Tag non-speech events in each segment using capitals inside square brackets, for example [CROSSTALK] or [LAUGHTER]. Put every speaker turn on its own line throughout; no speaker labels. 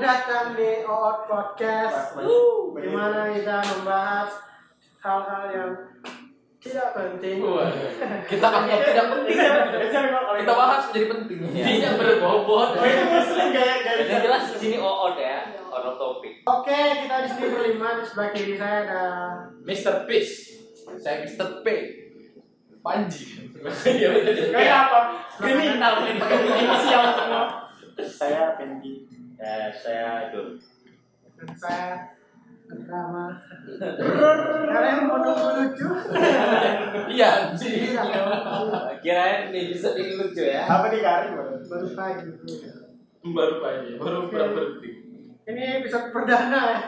datang di OOT Podcast.
Wuh,
Di mana kita membahas hal-hal yang tidak penting.
Wah, kita anggap tidak penting
Iya,
kita bahas menjadi penting intinya berbobot
Oh, itu muslim gaya
Iya.
Yang
gaya.
jelas di sini oon ya, on of topic.
Oke, kita di sini berlima di sebelah kiri saya ada
Mr. Peace saya Mr. P Panji iya betul
Gaya apa?
Kriminal,
pakai inisial semua. Saya Pendi.
Eh, saya Dul.
dan saya Rama. Kalian mau nunggu lucu?
iya anjing.
Kirain nih bisa bikin lucu ya.
Apa nih Karim?
Baru pagi.
baru Panji baru baru penting
Ini episode perdana ya.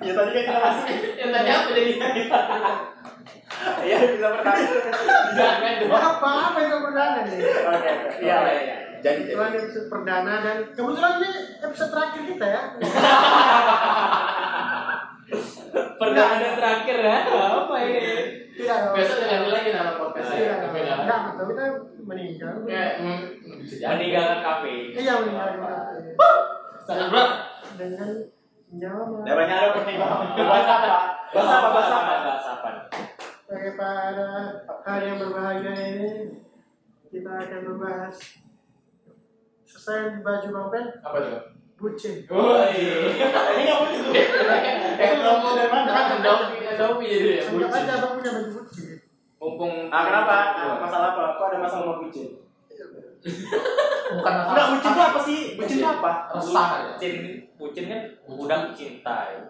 Ya tadi kan kita masuk.
yang tadi apa jadi
Iya bisa bertanya.
jangan dong
Apa apa itu perdana nih?
Oke. Iya.
iya.
Jadi
Itu ada episode perdana dan kebetulan ini episode terakhir kita ya.
Perdana terakhir ya. Apa ini?
Tidak. dong.
besok udah ganti lagi nama podcastnya
Tidak.
Beda.
Iya, Enggak, betul kita meninggal.
Kayak, hmm, bisa jadi.
Meninggalkan kafe.
Iya meninggal.
sangat berat
Dengan nyawa
Iya,
Namanya ada pertimbangan. Bahasa apa? Bahasa apa? Bahasa apa?
Bahasa apa?
Oke, pada hari yang berbahagia ini kita akan membahas sesuai baju Bang Pen,
apa tuh
bucin.
woi
Ini nggak boleh tuh.
eh promo dari mana kan Adobe Adobe jadi ya
Anggap
bucin.
aja Bang punya baju bucin.
mumpung
Ah kenapa? Ah, Masalah apa? Kok ada masalah sama bucin?
bukan masalah
Enggak, bucin itu apa sih? Bucin itu apa?
resah ya
Bucin, bucin kan budak cinta. ya.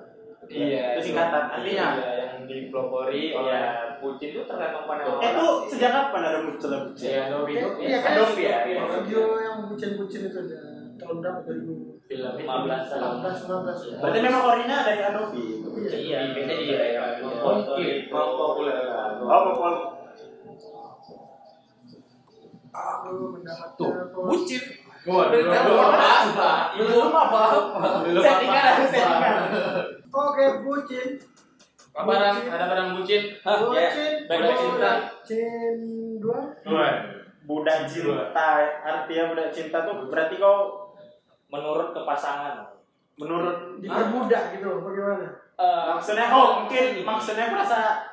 Iya,
Itu singkatan.
Iya,
Artinya
yang dipelopori
Iya.
oleh bucin itu tergantung pandangan
Iya.
orang.
itu sejak kapan ada munculnya bucin?
Iya, Adobe itu
Iya,
ya,
kan?
Adobe ya. iya.
Video yang bucin-bucin itu ada tahun berapa? 2018,
film itu
15
19.
Iya. Berarti memang orinya dari Anovi.
Iya, beda iya. iya.
Mungkin.
Mau
Iya.
populer.
Oh, pokoknya
Aku mendapat
Tuh,
telepon.
bucin Waduh,
Belum apa-apa.
belum apa-apa. Belum
Settingan,
apa-apa.
settingan.
Oke, bucin.
Kabaran,
Bucin.
ada barang bucin.
Hah, ya.
Bucin.
Budak cinta.
Bucin dua.
budak cinta artinya budak cinta tuh berarti kau
Menurut ke pasangan.
menurut
Diperbudak gitu loh, bagaimana?
Eh,
maksudnya oh mungkin maksudnya merasa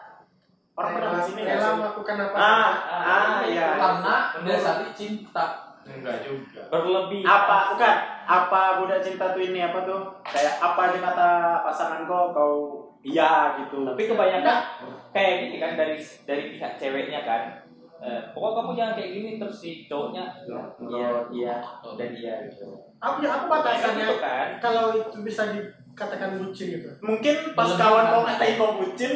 orang pernah
Rela-
di sini nggak
rela
Iya.
sih?
melakukan apa?
ah
Ah,
ah iya
Karena mendasari cinta. Enggak juga.
berlebih
apa bukan apa budak cinta tuh ini apa tuh kayak apa aja kata pasangan kau kau iya gitu
tapi kebanyakan kayak gini kan dari dari pihak ceweknya kan Eh, pokoknya kamu jangan kayak gini terus si cowoknya iya iya dan iya gitu
Apa ya, apa
kan
batasannya?
itu kan
Kalau itu bisa dikatakan bucin gitu.
mungkin pas
Belum
kawan kau
pernah.
ngatain kau bucin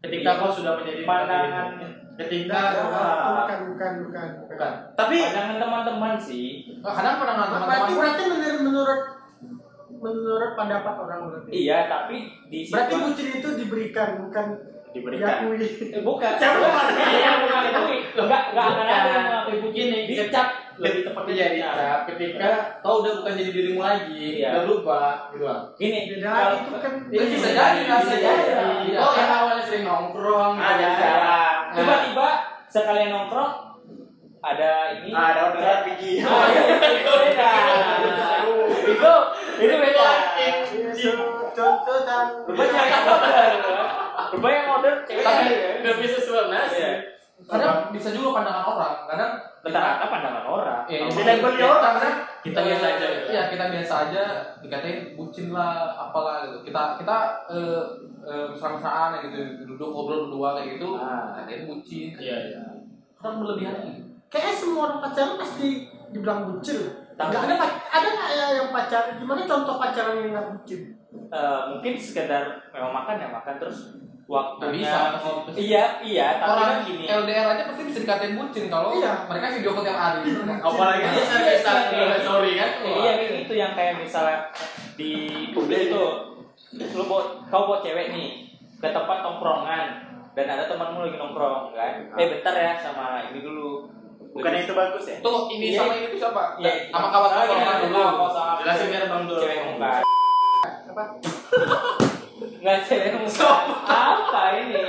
Ketika kau sudah menjadi
Iya. pandangan
ketika
Enggak,
Enggak,
enggak,
enggak.
bukan, bukan, bukan.
bukan.
tapi
pandangan teman-teman sih
Nah, kadang pandangan
Berarti
teman-teman.
berarti menurut menurut menurut pendapat orang berarti.
iya tapi di
Berarti
situasi-
bucin itu diberikan, bukan
diberikan
diakui.
Eh, bukan
Siapa yang
iya bukan itu nggak nggak akan ada yang mengakui
Begini,
bucin dicap lebih tepatnya
terjadi Iya, ketika kau udah bukan jadi dirimu lagi,
Iya.
udah berubah gitu lah.
gini
Beda
kalau-
itu kan. Iya,
Ini
bisa
Iya, bisa
jadi,
jadi, bisa
bisa
jadi.
jadi.
Kau yang awalnya sering nongkrong,
ada
gitu.
jarang
kan- tiba-tiba sekalian nongkrong ada ini
Ah, ada orderan pergi
Ah, itu beda. itu itu beda
Itu Contoh dan
rupanya yang order rupanya yang order cewek
Tapi
Iya.
nggak bisa sesuai nasi.
Iya.
Kadang bisa juga pandangan orang, kadang
bentar apa pandangan orang
Ya,
Tidak beli orang, kan?
kita biasa aja iya kita biasa aja dikatain bucin lah apalah gitu kita kita eh, eh, mesra-mesraan ya gitu duduk ngobrol berdua kayak gitu
Ah.
katain bucin
iya iya
kan berlebihan lagi
kayaknya semua orang pacaran pasti dibilang bucin.
Tapi-
Enggak ada pac- ada nggak ya yang pacaran? Gimana contoh pacaran yang nggak bucin?
Eh, mungkin sekedar memang makan ya makan terus
nggak
waktunya
bisa pasti.
iya iya tapi
orang
kan gini
LDR aja pasti bisa dikatain bucin kalau
Iya.
mereka video call tiap hari
apalagi
Iya,
Instagram,
iya, iya.
sorry kan?
Eh, iya gini, itu yang kayak misalnya di publik tuh lu bawa, kau bawa cewek nih ke tempat tongkrongan dan ada temanmu lagi nongkrong kan eh bentar ya sama ini dulu
bukan itu bagus ya
tuh ini
Iya.
sama ini tuh siapa
Iya.
sama kawan
Sama
kawan
kawan
dulu
kawan sama-
jelasin biar bang dulu
cewek muka
Apa?
nggak cewek muka apa ini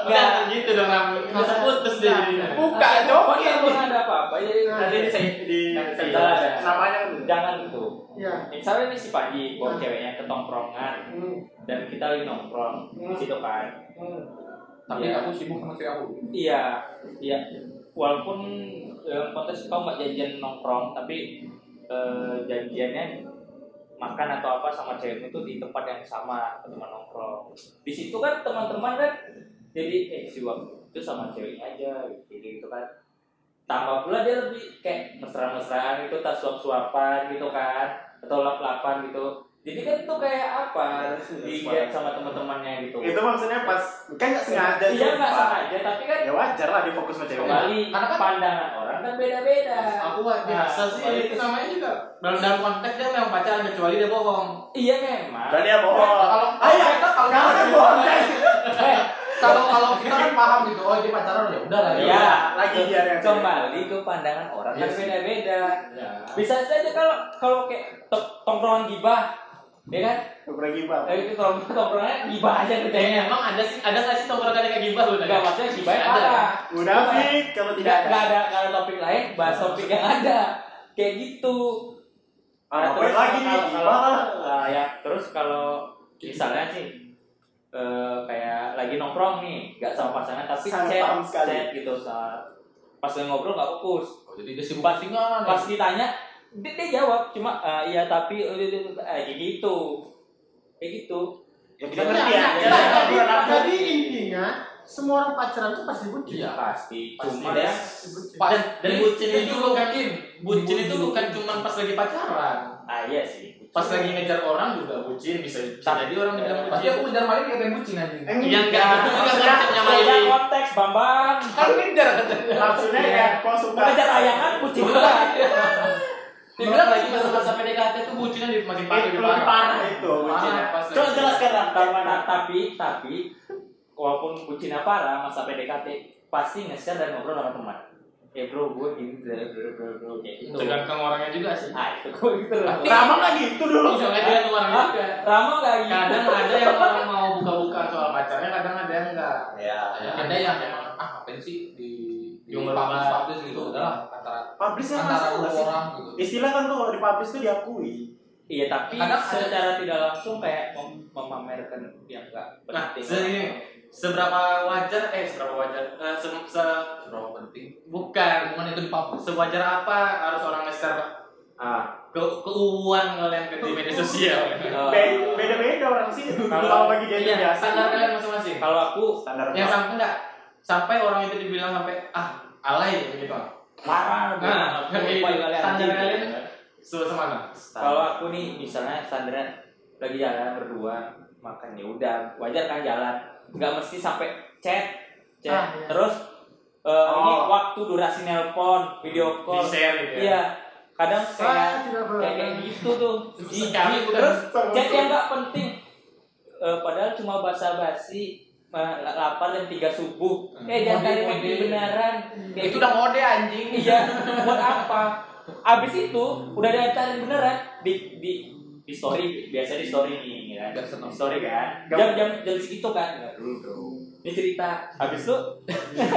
Enggak.
gitu dong kamu. Masa putus deh. Buka
Nah,
coba
pokoknya
gitu.
gue nggak ada apa-apa jadi
Nah,
Nanti di
eh.
di
Nanti.
Iya.
namanya kan.
jangan gitu
Iya.
misalnya nih si Panji buat
Hmm.
ceweknya ke tongkrongan
Hmm.
dan kita lagi nongkrong di
Hmm.
situ kan
Hmm.
Tapi
Iya.
aku sibuk sama cewek aku.
iya iya walaupun dalam konteks kau nggak janjian nongkrong tapi eh, janjiannya makan atau apa sama cewekmu itu di tempat yang sama teman nongkrong di situ kan teman-teman kan jadi eh si waktu itu sama ceweknya aja gitu gitu kan tambah pula dia lebih kayak mesra-mesraan gitu tas suap-suapan gitu kan atau lap-lapan gitu jadi kan itu kayak apa dilihat sama teman-temannya gitu
Itu maksudnya pas kan nggak sengaja.
iya
sih,
nggak
Pak.
sengaja tapi kan
Ya wajar lah dia fokus sama cewek.
kembali
Karena kan-
pandangan orang kan beda-beda
Aku nggak biasa sih.
Nah,
Itu namanya juga dalam dalam konteks dia memang pacaran kecuali dia bohong.
iya memang
Dan dia bohong.
Kalau
Ah, iya,
Ayo,
kita kalau
Kamu kan bohong kan?
Eh,
kalau kalau kita kan paham gitu. Oh dia pacaran ya udah lah. ya
iya
Lagi dia yang-
kembali ke pandangan orang
Iya
kan
sih.
beda-beda
udah.
bisa saja kalau kalau kayak to- tongkrongan gibah ya kan
Kurang gimana?
Eh, itu tong- tongkrongan gibah aja
Eh,
kerjanya
emang ada sih ada nggak sih tongkrongan yang kayak gibah lu?
enggak maksudnya gibahnya
Ada.
parah
Munafik kalau
tidak
tidak
nggak ada nggak ada topik lain bahas topik yang ada kayak gitu
Ah,
terus
Ngapain lagi nih?
kalau- kalau-
Gimana?
lah ya terus kalau misalnya sih eh, kayak lagi nongkrong nih nggak sama pasangan tapi
Sangat
chat
paham sekali.
chat gitu sa- pas lagi ngobrol nggak fokus
Oh, jadi dia sibuk
Pas-
postingan.
pas ditanya dia, dia jawab cuma "Ah, iya tapi eh, eh, eh," kayak gitu kayak gitu
Ya kita
Nah,
ngerti ya.
nah,
Ya,
nah,
kita
jadi,
ngerti.
jadi intinya semua orang pacaran tuh pasti bucin.
Iya.
pasti cuma
dia-
ya
Bucin.
Pas-
Dan- dan bucin
dia
itu
juga
bukan-
mungkin.
Bucin itu
Dibujuk.
bukan cuma pas lagi pacaran.
ah iya
[LAUGHS]
sih
Pas lagi ngejar orang juga bucin bisa. bisa jadi orang dibilang
Pasti
bucin.
aku ngejar maling kayak bucin anjing.
Eh,
Yang enggak itu juga
maksudnya-
konsepnya
Beda
maling.
konteks bambang
Kan ngejar katanya.
Maksudnya
Iya.
ya, kau suka
mengejar layangan kucing
[LAUGHS]
juga
Dibilang lagi masa-masa PDKT tuh bucinnya di makin parah ya.
Itu lebih parah itu bucinnya.
Parah, pas
Coba
lagi.
jelaskan lah
Tapi- tapi tapi walaupun kucingnya parah masa PDKT pasti nge-share dan ngobrol sama teman ya bro gue gini bro bro bro bro kayak gitu
Tergantung orangnya juga sih.
ah itu gue gitu lah
Rama nggak gitu dulu.
Bisa ngejar orangnya juga.
Rama gak gitu
Kadang ada yang orang mau buka-buka soal pacarnya, kadang ada yang enggak.
Ya.
Ya, ada yang memang ah ngapain sih di di
Diumbar
publish
banget.
publish gitu udahlah antara
Publish
Nah,
kan
antara
masalah
dua
sih.
orang gitu.
Istilah kan tuh kalau di publish tuh diakui.
iya tapi
Kadang ada-
secara tidak langsung kayak mem- memamerkan yang gak
Nah,
penting
sini seberapa wajar eh seberapa wajar eh, se, se-
Seberapa penting?
bukan
Cuman itu di publish.
sewajar apa harus orang nge-share
Ah.
ke keuuan kalian ke di media sosial
Eh,
Be- Beda-beda orang sih.
Kalau-
Kalau bagi dia itu
iya
biasa.
standar kalian masing-masing
kalau aku
Standar.
yang
Nah.
sampai enggak sampai orang itu dibilang sampai ah alay begitu
parah bro.
Nah,
Gua
kayak
lupa
gitu.
kalian.
Standar kalian- so semana
kalau aku nih misalnya standarnya lagi jalan berdua makan ya udah wajar kan jalan nggak mesti sampai chat chat
Ah, iya.
terus eh, ini
Oh.
waktu durasi nelpon video
di
call
share gitu ya
iya kadang
Saya
kayak
tidak
kayak kayak
pernah.
gitu tuh
Sekali
Jijik.
bukan-
terus
Sama-
chat yang nggak penting Eh, padahal cuma basa-basi eh, lapar jam 3 subuh eh jangan
Mode-
cari
mode.
mandi beneran Kayak
Hmm.
gitu
itu udah mode anjing
Iya, buat apa? Abis itu udah diantarin beneran di di di story biasa di story nih ya kan
Biasa
di
tau.
story kan jam jam jam segitu kan ini cerita habis itu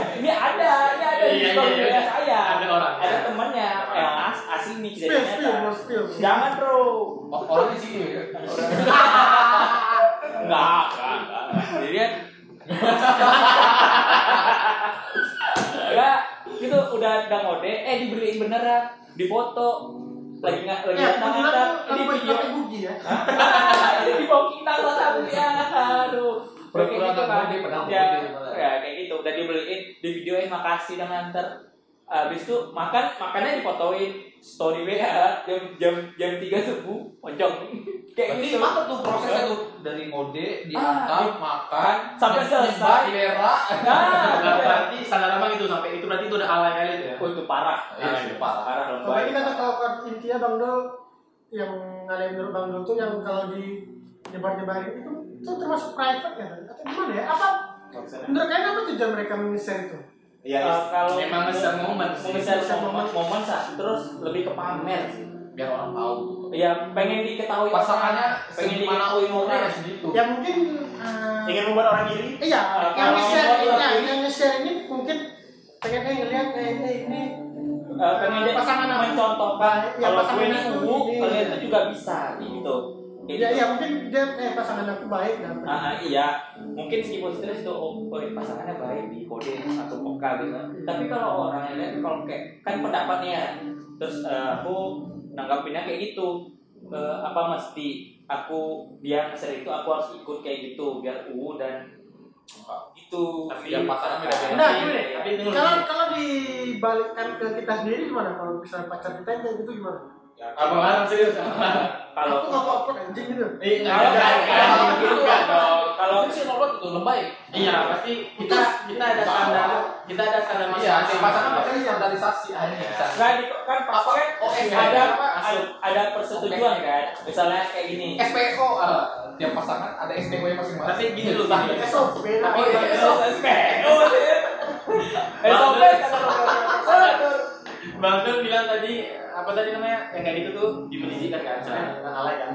[LAUGHS] ini ada ini ada di
Iya,
story
iya, iya.
punya saya
Ada orang.
ada temannya
Ada
yang
orang.
as asing nih
Spill,
kejadiannya
spill,
kan.
bro, spill.
Iya,
jangan bro
Oh, Orang di sini ya.
enggak enggak enggak jadi kan [LAUGHS] enggak itu udah udah mode eh dibeliin beneran difoto lagi nggak lagi
Ya, kebetulan
nggak tangan,
kamu
ini
pakai
video [LAUGHS]
pakai bugi ya.
Ah, ini bokina lah tapi ya aduh Udah kayak gitu kan
Pura-pura nggak mode,
ya,
padahal mode.
ya kayak gitu udah dibeliin di videoin makasih dan nganter habis itu makan makannya dipotoin story WA jam jam jam tiga subuh pojok [LAUGHS] kayak
Berarti
gitu
apa tuh prosesnya tuh dari mode
Ah,
diangkat makan
sampai
nyebar,
selesai.
berak.
Nah,
nah
berarti standar abang itu sampai itu berarti itu udah alay kali itu ya
Oh, itu parah
Iya, itu parah.
parah dong
Tapi kita kalau intinya Bang Dol yang ada menurut Bang Dol tuh yang kalau di nyebar-nyebarin itu itu termasuk private ya atau gimana ya? Apa menurut kalian apa tujuan mereka men-share itu?
Iya.
Eh, kalau
Memang ngeser momen sih.
ngeser
Ngeser
momen
momen.
momen sah terus lebih ke pamer sih
biar orang tahu
ya pengen diketahui
iya.
pasangannya
orang, pengen
segimana
diketahui orang
umurnya segitu
ya mungkin eh,
ingin membuat orang iri
iya
Kalau
yang nge-share
mau
ini ya,
dilakuin-
yang nge-share ini mungkin pengen eh ngeliat eh eh, ini
Eh, pengen jadi
Pasangan apa?
mencontohkan
Ya,
kalau
pasangan
gue ini
aku
ungu
ini.
kalian tuh juga bisa gitu Kayak
ya
gitu.
ya mungkin dia eh pasangan aku baik dan
Ah, ah, iya mungkin meskipun stres itu oh, oh, pasangannya baik di kode langsung peka gitu tapi kalau orang yang lain kalau kayak kan pendapatnya ya. terus eh, aku nanggapinnya kayak gitu Eh, apa mesti aku dia sering itu aku harus ikut kayak gitu biar u dan gitu
Tapi yang pasangan beda-beda.
Nah,
Tapi-
gini deh,
tapi itu
kalau kalau dibalikkan ke kita sendiri gimana kalau misalnya pacar kita yang kayak gitu gimana
ya,
apa barang serius [LAUGHS] apa barang?
kalau
aku nggak apa-apa anjing gitu
Iya,
Eh, enggak,
Kalau-
enggak, enggak,
kalau-
enggak, enggak dong.
kalau
Itu sih robot itu lebay
Iya, pasti kita kita ada
Enggak.
standar, kita ada standar
iya si
masing-masing.
pasangan maksudnya standarisasi
ah,
aja
Nggak, di- kan pasti kan
OS
ada
ada
ada, ada persetujuan kan misalnya kayak gini
Eh,
SPO ada ah, tiap pasangan ada SPO nya masing-masing
Tapi gini loh, Bang.
Standar.
SOP nah
Oh, iya.
SOP
Bang Dul bilang tadi apa tadi namanya yang kayak gitu tuh dimenisikan kan misalnya.
Jangan alay kan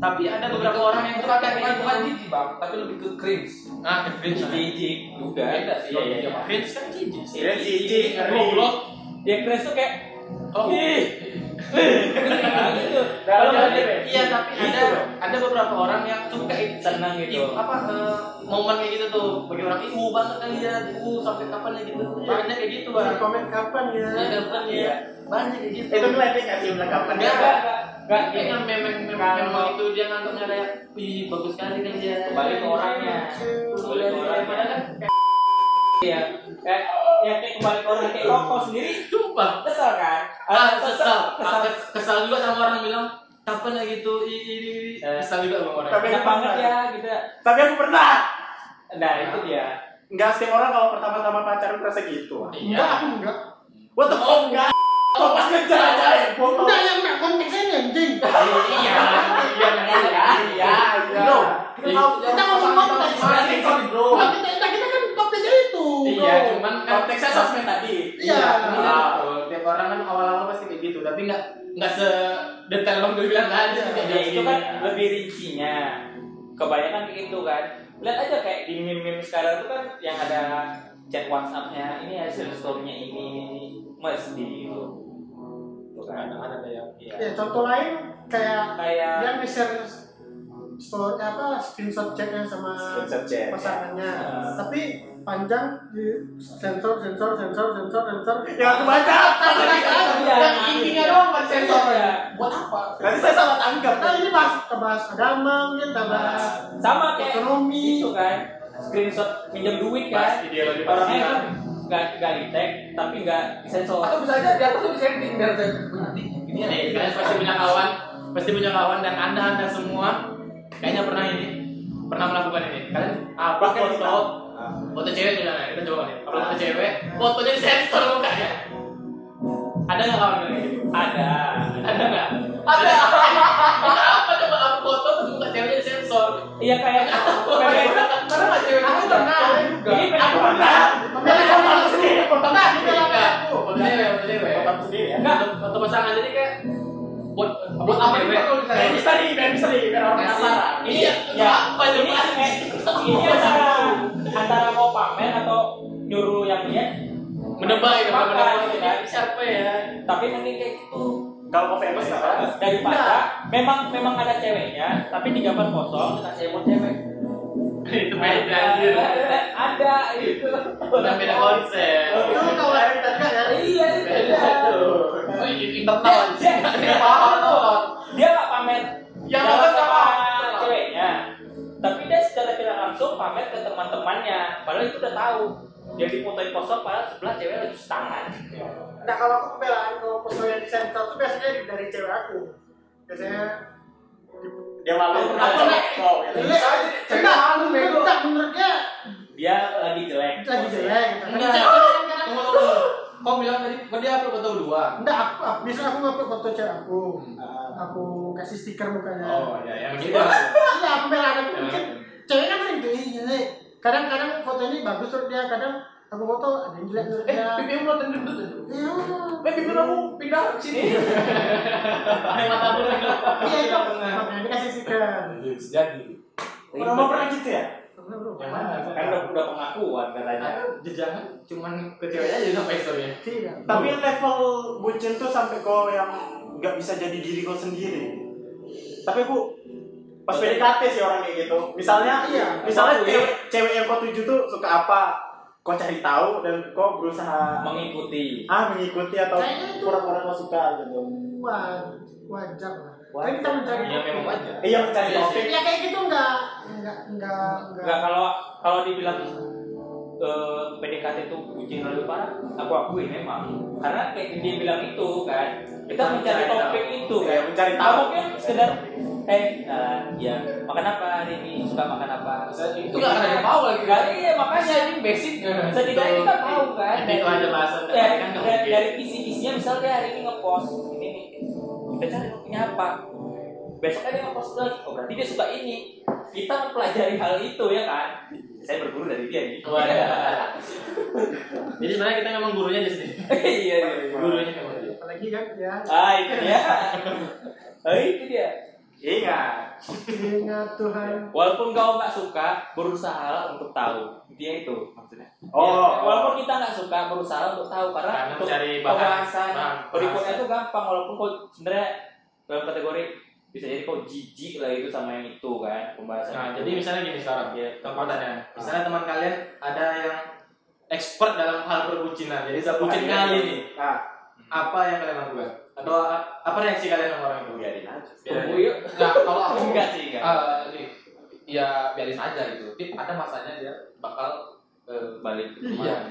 Tapi ada beberapa orang yang
bukan
suka kayak gitu
bukan bukan
kan.
jijik bang tapi lebih ke cringe Iya.
Nah, ke cringe kan.
jijik juga
beda sih Iya,
Iya, iya, iya.
Cringe kan jijik sih.
Keren sih, Ci. Ngeri.
Goblok.
ya Chris tuh kayak
Oh.
ih Nah, gitu
Kalau
Kalau
ada-
ada-
Iya, tapi
Gitu
ada
dong.
ada beberapa orang yang suka itu.
senang gitu
Ih, apa eh, momen kayak gitu tuh bagi orang ih uh, banget kali ya uh sampai kapan ya gitu banyak kayak gitu
Di
bang
komen kapan ya
Iya, kan,
Iya.
ya banyak kayak gitu
itu ngeledek nggak sih belakapan
Enggak, enggak, enggak.
Enggak, Iya.
Dia kan memang memang
Kalau-
memang itu dia nganggapnya kayak wih bagus sekali kan dia.
Kembali ke
Iya.
orangnya. Kembali ke orangnya.
Daripada kan
iya kayak ya kayak kembali ke orang kayak rokok sendiri
sumpah.
kesel kan
Ah, kesal. Ah, kes- kesal juga sama orang bilang kapan ya gitu ih, ih, ih, ih."
Eh.
Kesal juga sama orang.
Tapi-
Enak banget ya gitu
tapi aku pernah
nah itu dia
nggak setiap orang kalau pertama-tama pacaran merasa gitu
enggak aku
Iya.
enggak
what the fuck nggak Topas ngejar aja ya bohong.
enggak yang nggak konteksnya ini, anjing
Iya. Iya. memang.
iya iya
No.
kita ngomong konteks
kan?
Masih, bro.
Nah, kita, kita, kita kan konteksnya itu
Iya,
bro.
cuman kan
konteksnya sosmed tadi
Iya.
Ah.
cuman kan, oh, tiap orang kan awal-awal pasti kayak gitu, tapi enggak enggak sedetail Bang Dul bilang tadi
Iya,
tuh kayak gitu
Ya,
Iya,
itu kan lebih rincinya. Kebanyakan kayak gitu kan. Lihat aja kayak di meme-meme sekarang tuh kan yang ada chat WhatsApp-nya, ini hasil story-nya ini, ini, mesti gitu. Tuh kan.
ada yang
ya
Iya.
contoh lain kayak
Kayak
dia nge-share story apa screenshot chatnya sama
Screenshot chat, ya.
pasangannya
Ah.
tapi panjang di sensor sensor sensor sensor sensor
yang aku baca
iya.
Iya,
Tapi kan yang intinya doang buat sensor
ya.
kan, buat apa
Iya,
nanti saya salah tanggap
nah ini bahas kita bahas agama mungkin kita bahas
eh, Sama kayak
ekonomi
itu kan. Screenshot minjem duit
Pas
kan.
ideologi
Orangnya
pasti
kan
iya. kan.
nggak nggak di tag tapi nggak sensor.
atau bisa aja di atas tuh bisa editing biar saya nanti ya.
Ini nih, Iya, kalian pasti punya kawan, pasti punya kawan dan anda anda semua kayaknya pernah ini, pernah melakukan ini. Kalian apa
Bahkan
foto,
kita.
foto cewek misalnya, kita coba nih, apa foto cewek, fotonya sensor mukanya. ya? Ada nggak kawan kalian? gitu?
Ada.
Ada nggak? Ada. apa coba apa foto terus muka ceweknya sensor?
Iya kayak kayak
Karena nggak cewek
aku
kita.
pernah
ini
aku pernah
Memilih
foto aku sendiri foto
Foto
Pernah,
cewek,
pernah, aku.
foto cewek, foto cewek,
foto aku sendiri ya
Nggak, foto pasangan jadi kayak buat buat apa
itu
cewek?
perlu
Biar
ditanya
bisa nih, biar bisa nih, biar orang penasaran
ini ya
apa
ini
coba?
eh, ini
ya.
antara antara mau pamer atau nyuruh yang lihat
menebak itu kan
Menebak,
menebak
kan?
ini siapa ya
tapi mending kayak gitu
kalau mau famous nggak apa-apa.
Nah.
daripada memang memang ada ceweknya tapi di gambar kosong dikasih emot cewek
itu beda anjir.
ada ada itu
udah beda konsep
itu kalau ada yang tanya ya
iya
beda
beda
tuh Iya.
Dia-
internal
dia dia paham tuh. dia nggak pamer
Yang
jalan
nonton sama
ceweknya tapi dia secara tidak langsung pamer ke teman-temannya padahal itu udah tahu dia dipotoin kosong padahal sebelah cewek lagi cuci tangan
nah kalau aku pembelaan kalau poster yang di sensor itu biasanya dari cewek aku biasanya
dia malu
Aku
Aku
naik.
cowok, gitu.
jelek enggak enggak menurut dia
dia lagi jelek
lagi jelek gitu
Iya.
Tapi
Enggak.
cewek kan kadang-
tunggu tunggu kau bilang tadi kau dia upload foto dua
Enggak, aku, aku biasanya aku ngupload foto cewek aku. Aku kasih stiker mukanya.
oh ya yang gitu
Iya, kan pembelaan aku mungkin cewek kan sering tuh "Ih, jelek. Kadang-kadang foto ini bagus terus dia kadang aku foto ada yang jelek
Eh,
menurutnya
pipi aku kelihatan gendut ya?
Iya.
Eh, pipi aku pindah ke sini. Yang mata aku lagi.
iya itu makanya dikasih stiker
Jadi.
Orang mau pernah gitu ya?
Pernah, bro.
Yang mana?
Kan udah, udah pengakuan katanya.
Aku jejangan cuman ke ceweknya aja sampai story ya.
Tidak.
Tapi level bucin tuh sampai kau yang nggak bisa jadi diri kau sendiri. Tapi bu, pas PDKT sih orang kayak gitu. Misalnya,
Iya.
misalnya
Aku ya.
cewek, cewek yang kau tuju tuh suka apa, kau cari tahu dan kau berusaha
Mengikuti.
ah mengikuti atau
Kayaknya itu-
pura-pura kau suka gitu.
Wa- wajar lah
Wajar.
kan kita mencari
Ya memang wajar.
Iya mencari
Iya sih.
topik.
ya kayak gitu enggak enggak enggak
Enggak kalau kalau dibilang eh, PDKT itu bucin lebih parah, aku akui memang. Karena kayak dia bilang itu kan, kita
Kita
mencari
mencari
topik
tahu.
itu
Iya,
kan.
mencari
Nah,
tahu.
mungkin sekedar eh nah, ya makan apa hari ini suka makan apa.
Itu nggak akan ada yang tahu lagi
Enggak
kan?
iya makanya ini basic. Setidaknya kita tahu kan.
Jadi Iya. kalau ada bahasan
dari,
tadi kan nggak
dari,
mungkin.
dari kisi-kisinya misalnya dia hari ini ngepost ini nih kita cari topiknya apa besoknya dia ngepost lagi oh berarti dia suka ini kita mempelajari hal itu ya kan saya berguru dari dia nih
Iya. Wadah. Jadi sebenarnya kita memang gurunya di sini.
iya iya
Gurunya memang dia.
apalagi kan ya
ah itu dia oh itu dia
Iya
ingat
ingat Tuhan
walaupun kau nggak suka berusaha untuk tahu dia itu maksudnya Ya,
Oh,
walaupun kita nggak suka berusaha untuk tahu karena
Karena
untuk
mencari bahan.
pembahasan
Bahan.
berikutnya
Bahasan.
itu gampang walaupun kau sebenarnya dalam kategori bisa jadi kau jijik lah itu sama yang itu kan pembahasan
Nah, jadi misalnya gini sekarang ya, tempatnya. Misalnya teman kalian ada yang expert dalam hal perbucinan. Jadi bucin
iya.
kali nih.
Ah,
Apa yang kalian lakukan? Atau a- apa reaksi kalian sama orang itu?
biarin aja.
Biarin.
Ya, tunggu yuk
Nah, kalau aku
[LAUGHS] enggak sih enggak
Ah.
eh, nih, ya biarin aja gitu. Tapi ada masanya dia bakal eh,
balik
Iya.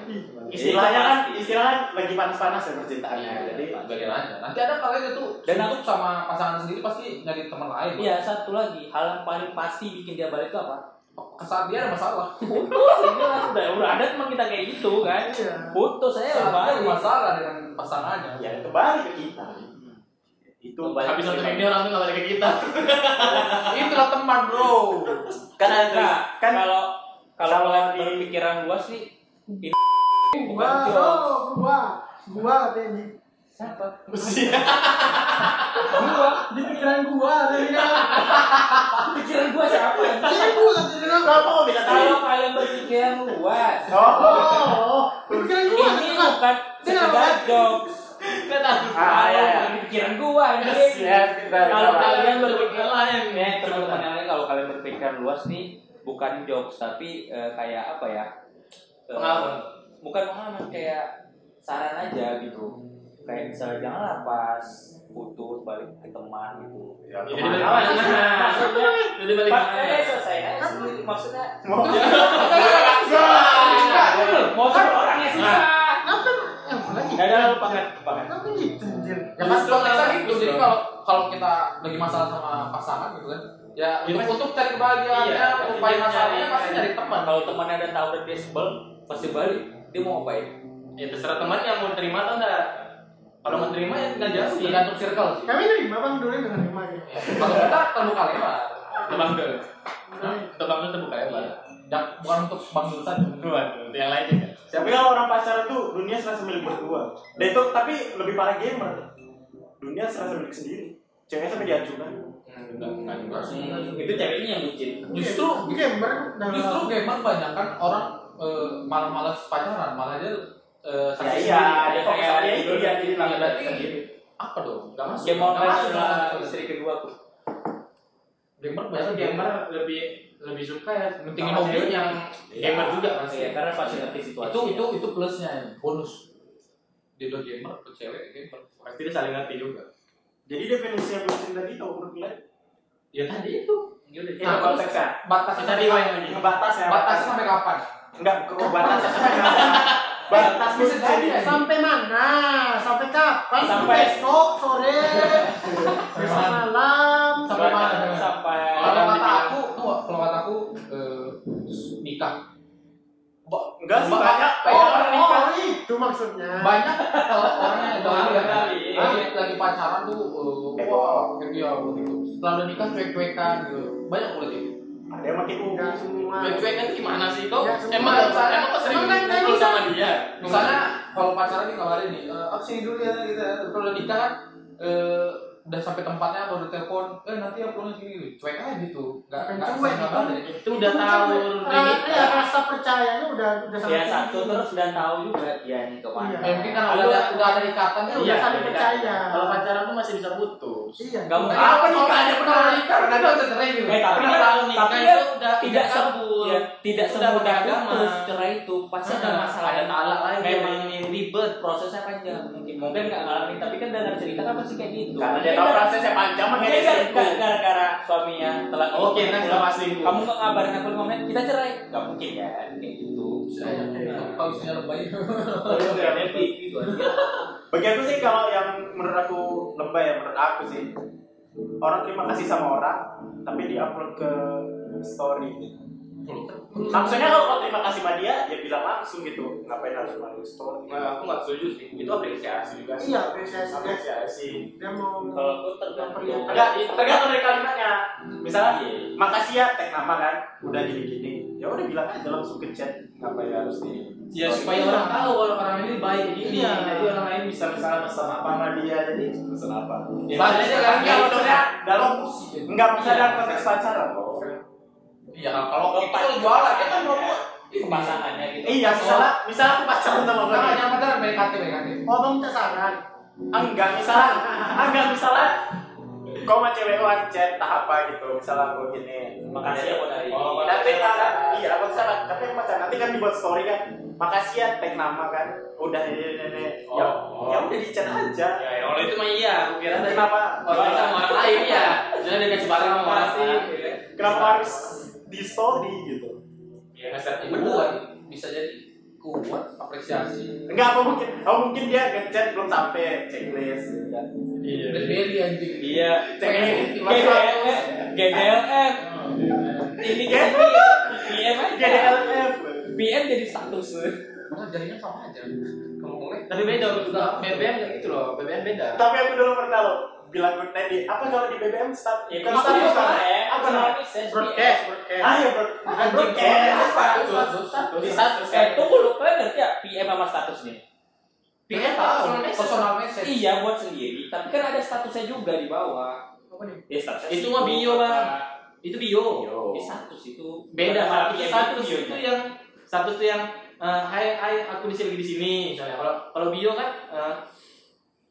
Istilahnya kan,
Pasti.
istilahnya lagi panas-panas ya percintaannya. Jadi
bagian gitu. aja. Nanti ada kalian itu
Dan
dan aku sama pasangan sendiri pasti nyari teman lain.
iya satu lagi hal yang paling pasti bikin dia balik itu apa
Kesaat dia ada masalah.
putus ini lah sudah udah ada teman kita kayak gitu kan
iya
putus saya
Saat dia ada
balik
masalah dengan pasangannya.
ya kembali ke kita. Itu
Kembali.
Habis satu mimpi orang tuh nggak balik ke [LAUGHS] kita.
Itulah teman, Bro.
kan
Nah,
kan
kan-
kalau kalau
kalau di-
berpikiran luas nih ini
gua
bukan
bro
job
gua gua katanya di
siapa
Mesti.
gua di pikiran gua katanya
pikiran gua siapa
iya gua katanya
Kenapa kok bisa tahu?
kalau kalian berpikiran luas
Oh,
di pikiran gua
ini
katanya
bukan sekedar jokes
Ah, iya, iya.
kalau pikiran gua
yes,
ini
yes, kita
kalau
kita-
kalian
berpikir
berpikiran
lain
eh teman-teman yang lain kalau kalian berpikiran luas nih bukan jokes tapi eh, kayak apa ya Eh,
Pengalaman.
bukan pengalaman kayak saran aja gitu kayak misalnya janganlah pas putus balik ke teman gitu
Ya,
Jadi
kemana?
balik mana?
Maksudnya,
Jadi balik
Pak,
mana?
eh, selesai aja sendiri. maksudnya
Mau-
eh,
mau sama orang ya susah
kenapa eh gua lagi
Gak ada lu paket paket
kenapa gitu anjir
Ya kan
Justru
konteksnya
malah
gitu.
gitu,
Jadi
Bro.
kalau kalau kita lagi masalah sama pasangan gitu kan, ya untuk,
Gimana?
untuk cari kebahagiaannya,
Iya,
untuk
tapi
paling
dia
masalahnya
nyari-
pasti nyari teman.
kalau temannya ada tahu dan dia sebel pasti balik dia mau ngapain
Ya terserah teman yang mau terima atau enggak. Kalau mau terima ya tinggal jauh ya.
Tergantung circle sih.
kami nerima bang dulu dengan nerima gitu
Ya, Kalau kita terbuka lebar.
Tebang dulu. Tebang dulu terbuka ya, Pak.
Ya, bukan untuk bang Dul saja.
Iya. Waduh, untuk yang lain juga.
Tapi kalau orang pacaran tuh dunia serasa milik berdua. Dan itu tapi lebih parah gamer. Dunia serasa milik sendiri. Ceweknya sampai diajukan.
Enggak, enggak juga sih.
itu ceweknya yang bucin
Justru
gamer dan
justru gamer banyak kan orang eh, malah malas pacaran, malah dia eh,
Ya
saksi
iya,
sendiri.
dia fokus sama dia
gitu,
itu dia jadi
Ya,
langganan
berarti
sendiri.
apa dong? Gak masuk.
dia mau
Nggak masuk.
adalah istri kedua aku
Gamer banyak
Biasanya gamer lebih lebih suka ya
Mentingin
sama
hobi.
cewek yang gamer juga kan pasti.
iya karena pasti ngerti situasi Iya.
itu itu itu plusnya ya, bonus dia udah gamer ke cewek gamer
Pasti dia saling ngerti juga.
Jadi definisi yang bucin tadi kalau menurut kalian
Ya tadi itu.
itu
Nah,
konteksnya.
batasnya
Kita
sampai
rewind
kapan?
lagi.
Ngebatas ya.
batasnya sampai kapan
enggak ke
[LAUGHS]
batas. Batas
Bisa
bucin.
jadi ya.
sampai mana sampai kapan
Sampai-
besok sore besok malam
sampai mana
sampai
Orang
kalau kata
dibilang-
aku tuh kalau kata aku eh, nikah
Enggak sih banyak.
oh,
orang nikah.
oh, itu maksudnya
banyak kalau orang yang udah
Orang
lagi,
kali.
lagi lagi pacaran tuh eh,
Heboh.
wah happy hour gitu setelah udah nikah cuek-cuekan gitu banyak kulit itu
ada yang makin uh
Enggak semua.
Cuek-cuekan tuh gimana sih kok?
Ya, semua.
emang emang kok sering
Emang kan
ngobrol
kayak
sama dia?
misalnya kalau pacaran dikabarin nih eh ah, sini dulu ya gitu ya. kalau nikah kan eh udah sampai tempatnya baru telepon eh nanti ya pulangnya sini gitu cuek aja gitu nggak
Bukan
nggak
cuek,
usah
itu-
ngabarin
itu udah
Bukan,
tahu Iya,
Ra-
dari
ya, rasa percayanya udah udah
ya
tinggi.
satu terus dan tahu juga dia nih
Iya.
kemana
Ya,
Eh, mungkin karena udah ada udah ada ikatan
Ini
ya
udah
Iya,
saling
iya.
percaya.
kalau pacaran tuh masih bisa putus.
Iya.
Nggak mungkin.
Apa nikahnya pernah
nikah karena dia udah cerai
Eh,
gitu
tapi
Karena
kan-
kalau nikah
tapi
itu
kan
udah Iya,
tidak
tidak
se-
kabul.
ya, tidak
Itu udah
semudah
beragama.
putus cerai itu pasti ada Hmm.
Nah,
masalah
ada talak lagi.
memang ribet prosesnya panjang mungkin mungkin nggak ngalamin tapi kan dalam cerita kan pasti kayak gitu
Karena dia tahu prosesnya panjang makanya Oh,
Mungkin
dia
gara-
selingkuh.
gara-gara suaminya telah
Oke, next
pulang,
sama selingkuh.
kamu kok ngabarin aku lima menit kita cerai nggak mungkin kan kayak gitu
kalau isinya lebay
iya.
Terus ya, happy gitu aja.
bagi aku sih kalau yang menurut aku lebay ya menurut aku sih orang terima kasih sama orang tapi diupload ke story gitu. maksudnya kalau kau terima kasih sama dia ya bilang langsung gitu ngapain harus melalui story
eh, aku nggak setuju sih. Itu apresiasi juga. sih.
Iya, apresiasi.
apresiasi
Dia mau
kalau aku tergantung
Memperlihatkan.
enggak tergantung dari kalimatnya misalnya
Iya.
makasih ya tag nama kan udah gini gini ya udah bilang aja langsung ke chat ngapain harus di
Ya
story?
supaya orang tahu kalau orang ini baik kayak gini.
Iya.
Jadi orang lain bisa misalnya pesan apa sama dia. Jadi
pesan apa
Ya,
Padahal
makanya
dia
kan
kan
enggak
kalau
maksudnya dalam enggak maksudnya
Iya.
dalam konteks pacaran loh
iya kalau itu kan jualan ya kan promo
pemasangannya gitu
iya misalnya misalnya aku pacaran sama
Nah,
orang
yang pacaran PDKT PDKT
Oh, Bang
gitu.
minta saran.
enggak misalnya ah, enggak misalnya kau sama cewek kau chat tahap apa gitu misalnya aku gini
makasih ya buat hari ini
Oh,
nanti ada iya aku salah tapi yang pacaran nanti kan dibuat story kan makasih ya tag nama kan udah ini ini ini ya
Oh.
ya udah di chat aja
Ya, ya, kalau itu mah iya. Aku kira
Ya,
dari
kenapa
Oh,
Kalau
iya,
kita sama orang lain ya, jadi dia kasih barang sama orang
Kasih.
lain.
kenapa harus di story gitu
Ya ngeser
Tapi kuat bisa jadi kuat apresiasi
enggak apa mungkin apa mungkin dia ngechat belum sampai checklist gitu kan.
Iya.
BlackBerry ya, anjing
iya
checklist
GDLF GDLF ini kan PM aja
GDLF
PM jadi status
Karena jaringan sama aja kalau ngeliat
Tapi beda juga BBM nggak gitu loh, BBM beda.
tapi aku dulu pernah loh bilang good night di apa kalau di BBM start
ya
bukan
kan
status,
status
kan?
apa
apa
namanya
Broadcast, broadcast.
ayo ya, bro bukan broadcast
Di status
eh tunggu lu kalian ngerti ya PM sama status nih
PM
tahu personal message
iya buat sendiri tapi kan ada statusnya juga di bawah
Apa nih?
ya statusnya
Itu mah bio, Bang. Itu bio.
ya status itu
Beda
Bukan
status
PM,
status
bio.
itu yang status itu yang eh, hai hai aku di sini lagi di sini misalnya. Kalau kalau bio kan eh,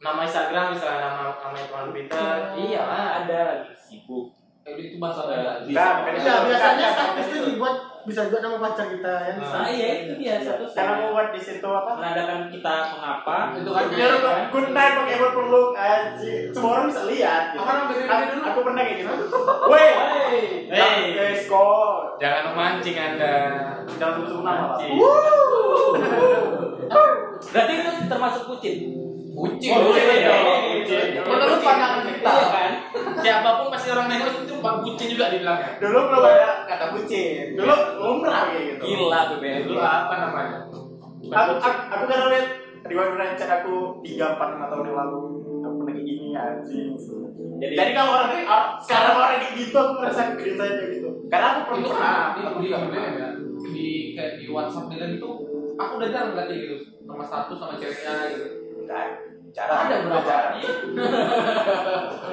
nama Instagram misalnya nama nama akun Twitter. Iya lah.
ada lagi sibuk
Iya,
Eh, itu bahasa
Nah,
beda Iya,
makanya
Ya, biasanya
Bukan,
status
bukan
itu
gitu.
dibuat bisa juga nama pacar kita ya, yang
Ah,
bisa.
Nah, iya itu dia status.
karena mau buat di situ apa
menandakan kita mengapa
itu kan
Ya, lu bilang, good night pakai word perlu anjir semua orang bisa lihat gitu.
Apa nama BBM
Aku-
dulu?
aku pernah kayak gitu Nah, weh
Hey.
hey skor
Jangan memancing Anda.
jangan sebut nama Pak.
Mancing.
berarti itu termasuk kucing.
kucing
Oh,
kucing.
iya, iya,
iya.
menurut pandangan kita
Iya kan?
Siapapun pasti orang nengok itu bang kucing juga dibilangnya.
dulu belum ada kata kucing dulu lumrah kayak gitu
Gila tuh Ben.
Dulu apa namanya?
aku, aku, aku kan lihat di warna chat aku tiga empat lima tahun yang lalu aku pernah kayak gini anjing
Jadi
jadi kalau orang or- sekarang orang kayak gitu aku merasa cringe aja gitu karena aku pernah
itu
pernah
kan di di BBM ya di kayak di WhatsApp dan itu aku udah jarang lihat kayak gitu sama status sama ceweknya gitu
Enggak, jarang
Ada berapa?
jarang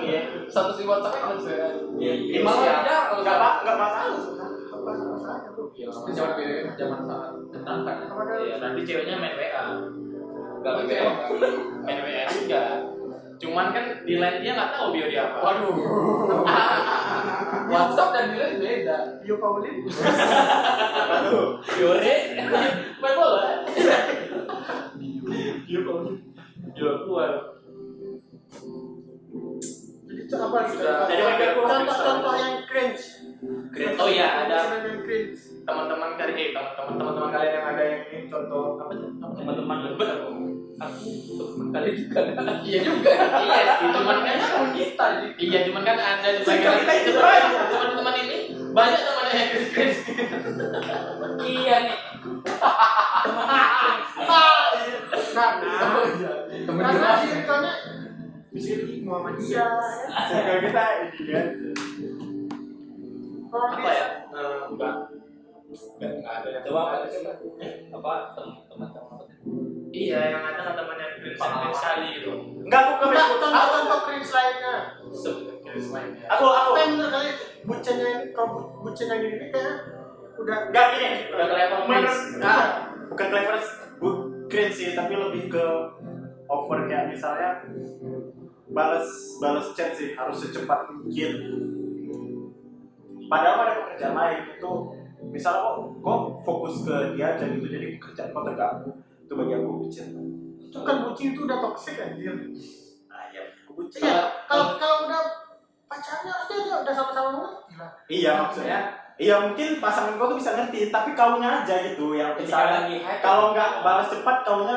Iya.
status di WhatsAppnya kalau ceweknya
Iya, iya.
malah jarang kalau
Enggak, Pak, enggak masalah sebenarnya.
Apa masalahnya tuh?
Itu zaman BBM zaman sangat menantang
Apa ada?
Iya, nanti ceweknya main WA.
enggak BBM.
Main WA juga. Cuman kan di line dia nggak tahu bio dia apa.
Waduh. WhatsApp dan Dylan beda.
Iya.
Bio Paulin.
Apa tuh?
Yore.
Main bola. Dia kok dia keluar.
Jadi itu apa lagi?
Sudah.
Jadi mereka kurang
Contoh-contoh yang cringe.
Oh iya, ada
Contoh yang cringe.
teman-teman kalian eh teman-teman teman-teman kalian yang ada yang ini contoh apa tuh?
Teman-teman lebet aku. Aku teman kalian juga.
Iya juga.
Iya, teman kan
Teman kita jadi.
Iya, cuman kan ada di
Singkat kita itu aja.
teman-teman ini banyak teman yang kritis.
Iya nih.
Nah,
Nah.
Karena
Temen
karena
kita.
ya?
circle-nya Misalnya iya, Muhammadiyah. ya.
Saya kita ini gitu kan.
Orang
Apa
desa.
ya? Eh,
Enggak ada. Coba apa? Coba. Apa teman-teman apa?
Iya, yang ada teman yang
Pengalaman.
cringe sekali gitu.
Enggak aku ke
Enggak,
Facebook. Aku
contoh-contoh cringe lainnya.
Cringe lainnya.
aku aku
Apa yang menurut kalian bucin yang kalau bu- bucin yang ini kayak udah
enggak gini.
Udah kelihatan
Menurut
cringe.
ah, bukan clever bu keren sih tapi lebih ke over kayak misalnya balas balas chat sih harus secepat mungkin. Padahal ada pekerjaan lain itu misalnya kok kok fokus ke dia aja gitu jadi pekerjaan kok terganggu itu bagi aku bucin.
itu kan bucin itu udah toxic anjir.
Nah, ya, aku bucin.
Iya, kalau kalau udah pacarnya harusnya dia udah sama-sama mengerti lah.
Iya maksudnya. Iya mungkin pasangan kau tuh bisa ngerti, tapi kaunya aja gitu yang
Ketika
misalnya
lagi hype.
kalau nggak balas cepat kaunya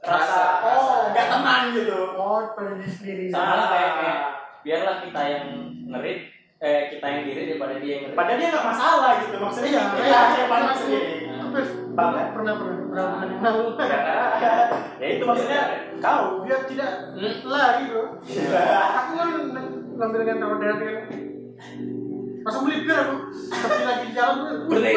Rasa-
rasa oh,
rasa.
nggak tenang gitu.
Oh, pada diri sendiri.
Sama lah kayak kayak ya, biarlah kita yang ngerit eh kita yang diri daripada dia yang ngerit.
Padahal dia nggak masalah gitu maksudnya.
Iya,
dia
iya.
aja yang paling sendiri.
Terus
Paham ya?
pernah pernah pernah pernah pernah.
[LAUGHS] Ya itu maksudnya kau.
Biar [LAUGHS] tidak lari bro. Aku kan ngambil dengan tahu dari kan. Langsung beli bir aku. Tapi lagi di jalan gue.
Beli.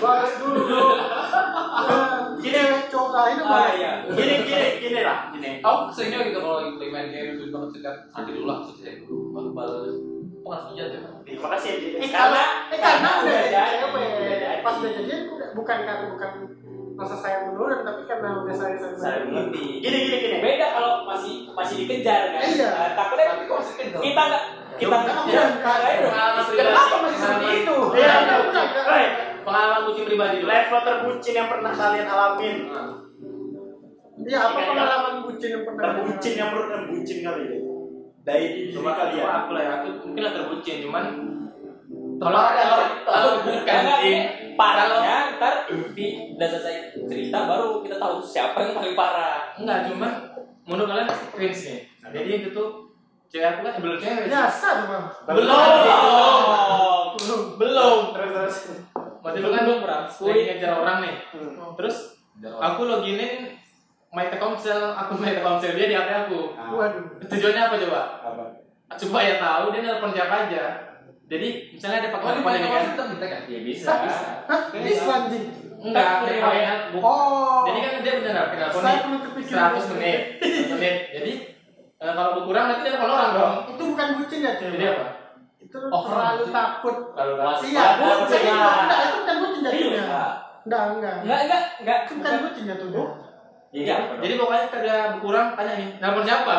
Balas dulu. bro. Eh, Gini cowok lain apa?
Ah iya.
Gini gini gini lah gini. Oh,
Aku seringnya gitu kalau lagi play main game itu banget cekat nanti dulu lah cekat dulu baru balas. Kok nggak sengaja tuh?
Terima kasih. ya,
Eh
Karena
karena eh karena udah jadi
udah jadi, udah
cewek.
jadi.
Pas udah jadian udah- bukan karena bukan rasa sayang menurun tapi karena udah sayang sayang.
Saya mengerti.
gini gini gini.
Beda kalau masih masih dikejar kan.
Iya.
Eh, takutnya
Tapi kok masih kental?
kita nggak kita
Ya,
nggak Nah,
udah,
Pengalaman
Makanya dong. Kenapa
pribadi.
masih seperti itu?
Iya.
Iya, udah, udah.
Hei,
Pengalaman kucing pribadi dulu.
level terbucin yang pernah kalian alamin.
Iya, apa pengalaman bucin yang pernah?
Terbucin yang menurut kalian bucin kali ini. Dari diri
Coba
kalian.
coba aku lah ya. Aku mungkin lah terbucin, cuman
Tolong ada
Kalau
kalau bukan
bukan
Jin.
parahnya ntar di udah selesai cerita baru kita tahu siapa yang paling parah.
enggak cuman menurut kalian cringe nih. Nah, jadi itu tuh cewek aku kan belum cewek. sih.
Ya.
Biasa tuh bang.
Belum.
Oh.
Belum.
Belum.
Terus terus. Hmm.
Waktu itu kan belum berangkat. Lagi ngejar orang nih. Terus
Ya
Aku
aku loginin my Telkomsel, aku my Telkomsel dia di HP aku.
Waduh.
Tujuannya apa coba?
Ah, Apa?
Supaya tahu dia nelpon siapa aja. Jadi misalnya ada
Oh,
pakai handphone
kalau di paling
ini
awal
kan.
itu minta kan?
Ya
Iya.
Bisa. Hah? Ini selanjutnya.
Enggak, dari pakai handphone.
Oh.
Jadi kan dia benar pakai handphone
saya
nih.
perlu kepikiran.
100 menit, 100 menit. Jadi eh, kalau berkurang nanti ada orang dong.
Itu bukan bucin ya, Teh?
Jadi apa?
Itu kan
Over
terlalu
bucin.
takut.
Kalau
Mas-
Iya,
Ada
bucin.
bucin.
Enggak, itu bukan bucin jatuhnya.
Iya.
Enggak, enggak.
Enggak, enggak, enggak.
Itu bukan bucin ya, jatuhnya.
Iya.
Jadi pokoknya kada berkurang tanya nih, nelpon siapa?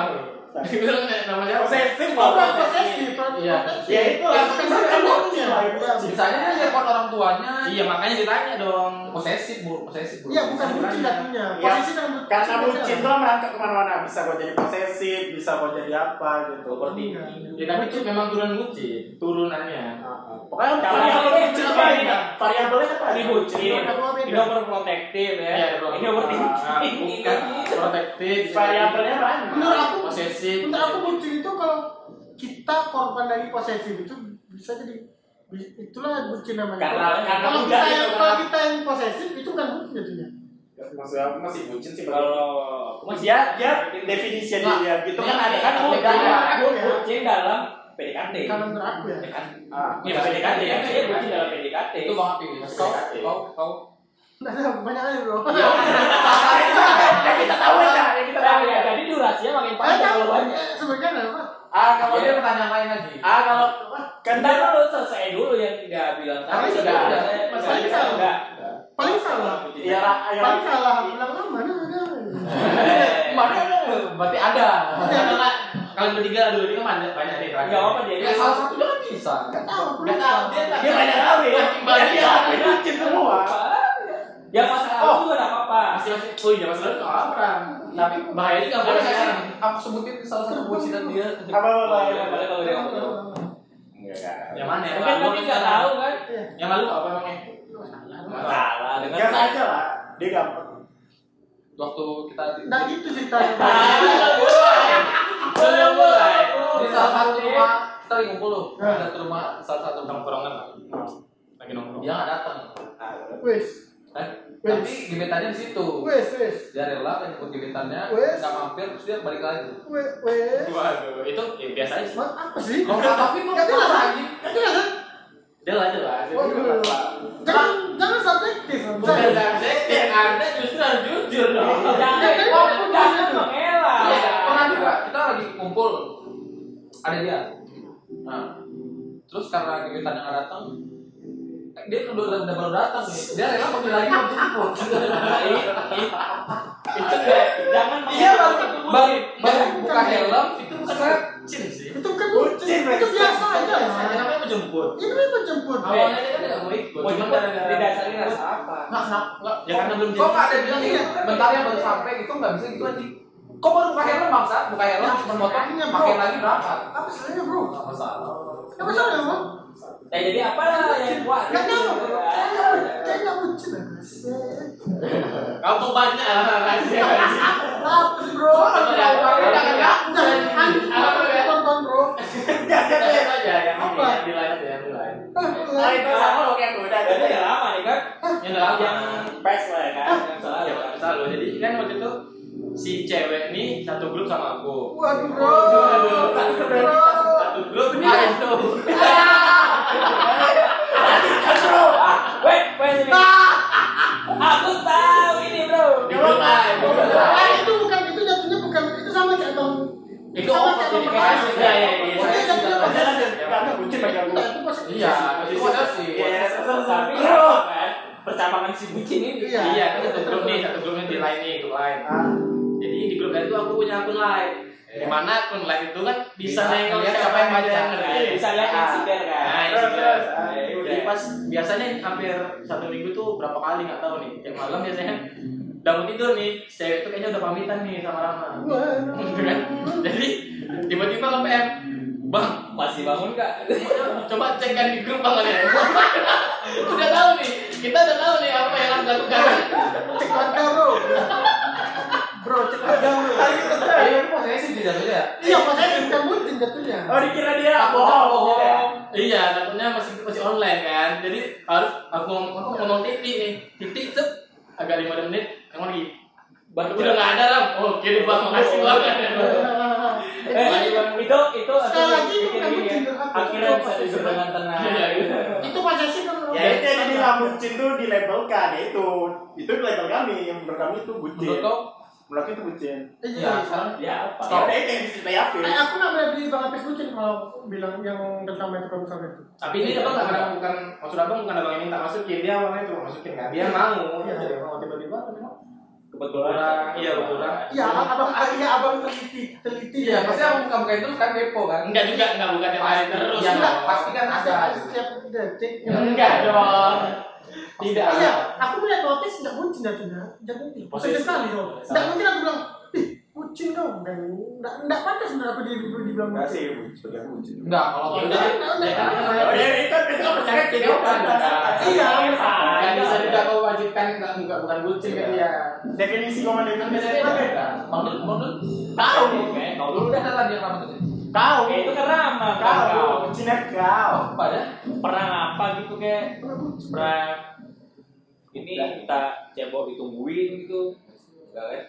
Dia [LAUGHS] bilang nelpon siapa?
Posesif
Oh, bukan
banget.
posesif. bukan
Iya.
posesif.
Ya itu lah.
Ya, bukan bucin ya, jatuhnya.
Misalnya dia telepon orang tuanya.
Iya, makanya ditanya dong.
Posesif bu, posesif bu.
Iya, bukan bucin jatuhnya.
Iya.
Posisi kan bucin.
Karena bucin tuh merangkak kemana-mana. Bisa kau jadi posesif, bisa kau jadi apa gitu.
Enggak.
Ya tapi itu memang turun bucin, turunannya.
Nah, Pokoknya
Kalau
variabelnya
ini
bucin apa
bucin
ini?
apa?
Variabelnya apa?
Ini bucin.
Apa beda?
Ini overprotective ya.
Iya, bro.
Ini overthinking.
Nah, bukan protektif,
Variabelnya banyak.
Menurut aku,
posesif.
Untuk aku bucin itu kalau kita korban dari posesif itu bisa jadi itulah bucin namanya.
Karena- karena
kalau
udah
kita yang
itu,
kalau
kan.
kita yang posesif itu bukan bucin ya, jadinya.
Maksudnya aku masih bucin sih. Bang.
Kalau
Dia dia definisinya dia, dia gitu kan ada kan
kan
aku
bukan
beda.
ya.
bucin dalam PDKT.
Kalau menurut aku ya.
PDKT.
Ah,
Iya, PDKT ya. Iya, bucin dalam PDKT.
Itu bang Api. Kau, kau, kau.
Nah, banyak aja bro.
Iya.
[LAUGHS]
Ya kita tahu aja, ya kita tahu
Nah, Kan ya,
ya.
jadi durasinya makin
Eh,
panjang
tahu
kalau banyak.
Sebenarnya apa?
Ah kalau
Kalau
dia
dia pertanyaan lain lagi.
ah kalau kan
Bentar
dia
dulu selesai dulu yang tidak bilang
Tapi
tadi.
sudah.
Enggak,
Mas
enggak,
Faisal.
enggak.
Paling salah.
ya lah, ya.
Paling salah. Aku bilang ah, mana ada.
Eh,
Mana ada? Berarti ada.
Kalau nggak, kalian bertiga dulu ini kan banyak banyak nih
Enggak
terakhir.
apa-apa dia.
Ya salah satu dia kan bisa.
Gak tahu. aku
Nggak
lupa.
tahu, dia nggak-
Dia banyak kali ya.
Banyak.
Dia lakuin bucin semua.
Ya pas
Oh.
aku juga enggak apa-apa.
Masih masih. Oh iya, masalah itu apa?
Tapi
Bahaya juga boleh
Boleh ya. Oh, Nah, nggak sih?
sekarang.
Aku sebutin salah satu bucin dan dia.
Apa apa apa,
iya,
Boleh,
apa.
boleh kalau dia ngomong.
Yang mana? Yang
Mungkin
lalu
kami nggak tahu kan?
Iya.
Yang lalu apa namanya?
Masalah dengan
Gas aja lah. Dia gampang.
Waktu kita di
Nah gitu ceritanya.
[LAUGHS] Boleh mulai.
iya.
di salah satu rumah kita lagi ngumpul loh. Ada tuh rumah salah satu rumah
Nongkrongan lah. lagi nongkrong.
dia nggak datang.
Wes.
Eh,
Wes.
Tapi gebetannya di situ.
Wes. Wes.
Dia rela kan ikut gebetannya,
Wes.
nggak mampir terus dia balik lagi.
Wes. Wes.
Waduh, itu ya, biasa aja. sih.
Ma- Apa sih?
Kalau kata Api tuh
Nggak jelas.
lagi.
Gak jelas.
Dia jelas jelas
Oh, dulu. Jangan jangan subjektif.
gitu, bukan
Saya-
subjektif anda justru harus jujur
Iya.
dong
Jangan,
tapi
wah,
waktu
jangan
itu-
mengelak.
Iya, pernah juga kita lagi ngumpul ada dia. Nah, terus karena gebetan yang datang, eh, dia udah udah udah baru datang nih. Dia rela panggil lagi untuk jemput.
Itu kayak, jangan
Iya,
mengelak.
Bang.
Baru baru buka helm itu bukan
bukan kucing sih
Itu kan
Bucin,
itu biasa aja.
Saya namanya menjemput
Itu kan menjemput.
awalnya dia kan nggak mau ikut
Mau
cuma
jemput
gara-gara
didasari rasa apa?
Nah, kenapa?
Nggak, ya karena belum
Kok nggak ada bilang gitu?
Iya.
Bentar ya baru sampai itu nggak bisa gitu anjing. Kok baru buka helm bangsa? Buka helm
Nah,
cuma motor,
makanya, Bro.
pakai lagi berangkat.
Apa salahnya, Bro?
Nggak masalah.
Apa salahnya, Bang?
Ya jadi apalah yang buat?
Nggak nyamuk.
Iya,
Kayaknya kayaknya bucin ya, guys.
kampung banyak [LAUGHS] rahasia
Apa sih, Bro?
Apa ya?
Jangan,
Apa ya?
jangan. Anjing,
Apa ya?
tonton, Bro.
Lanjut aja yang
Apa?
ini yang di lain yang di lain
Eh,
Nah, itu sama lo kayak gue udah
Jadi udah lama nih kan?
Ah.
yang dalam
Yang
Pes lah ya kan.
yang salah
yang
kan?
salah jadi kan waktu itu si cewek ini satu grup sama aku
Waduh, Bro.
Waduh,
Waduh, Bro. kan?
satu grup ini aduh
Ah, Wait, wait ini. Aku tahu ini bro.
di grup lain di grup
Eh,
lain
itu bukan itu jatuhnya bukan itu sama kayak Bang.
itu
Sama
over
kayak Bang
verifikasi
Pertama.
ya ya ya
Itu jatuhnya
Nah,
posesif.
jangan, jangan bucin bagi
Nah,
gue.
itu posesif.
Iya, itu ada sih.
Iya, iya,
Tapi
iya.
bro, kan? Percabangan si bucin ini.
Iya.
iya kan satu grup nih satu grupnya di lain nih grup lain jadi di grup lain itu aku punya akun lain
Eh.
di mana akun lain itu kan bisa
Bisa
nengok
lihat
siapa Iya. yang pacar
Nah, Bisa lihat
Iya.
insiden
Nah,
kan?
itu
Terus,
dia.
terus.
Nah, itu dia. Pas biasanya hampir satu minggu tuh berapa kali nggak tahu nih. Tiap malam biasanya udah mau tidur nih, si cewek itu kayaknya udah pamitan nih sama Rama. Gitu kan? Jadi tiba-tiba ke PM, Bang,
Masih bangun gak?
coba cekkan di grup bang ya. [LAUGHS] udah tahu nih, kita udah tahu nih apa yang harus dilakukan.
Cek harga, Bro. Bro, cek harga, Bro.
Tapi posesif Iya, sih jatuhnya ya.
Iya, posesif bukan bucin jatuhnya.
Oh dikira dia
ya,
bohong. ya kan?
kan?
Iya, takutnya masih masih online kan. Jadi harus aku aku ngomong titik nih, titik set agak lima menit, kamu lagi
Baru
udah nggak ada ram oh kiri bang makasih bang
Eh, itu itu
Sekali lagi itu
bikin
kamu
gini ya.
tidur apa?
Akhirnya bisa
Itu
tidur dengan tenang.
Iya, iya.
Itu posesif kan, Bro.
Ya itu yang dibilang bucin tuh dilabelkan ya itu. Itu label kami yang menurut kami itu bucin.
Menurut kau?
Menurut aku itu bucin.
Iya.
Ya, sekarang
Ya apa?
Ya udah itu yang diceritain apa? ya?
Eh, aku nggak boleh beli Bang Apis bucin kalau bilang yang tentang itu kalau misalnya itu.
tapi ini abang nggak pernah bukan maksud abang bukan abang yang minta masukin dia awalnya itu masukin kan dia mau
Iya.
jadi mau tiba-tiba
Kebetulan.
kurang iya kurang
Iya, abang, iya abang teliti, teliti.
Iya, pasti aku buka-buka itu kan depo kan.
enggak juga enggak bukan yang lain terus
Iya,
Bang.
pasti kan ada.
Setiap- setiap detik.
enggak dong tidak
Iya, aku melihat notis tidak bucin jatuhnya. Tidak bucin. Posesif
Posesif.
sekali dong. Tidak mungkin aku bilang, ih bucin kau. Enggak, enggak, enggak pantas sebenarnya aku di- dibilang
Enggak
bucin.
sih, bucin. Bagi aku bucin.
Enggak, kalau
Ya
kita
udah.
Ya udah itu itu percaya jadi apa?
Iya,
nggak Ah, kan bisa
iya.
juga kau wajibkan nggak nggak bukan bucin kan
Iya.
Definisi koma
Kan
definisi
biasanya
apa?
beda.
Manut, manut.
Tahu.
Kayak kau
Kalau
dulu
Ya udah ada lagi yang rambut ini.
Tahu.
Kayak Ya, itu kerama kau.
Kau bucinnya kau.
Apa ya?
Pernah apa gitu kayak pernah ini kita cebok ditungguin gitu. Enggak kan?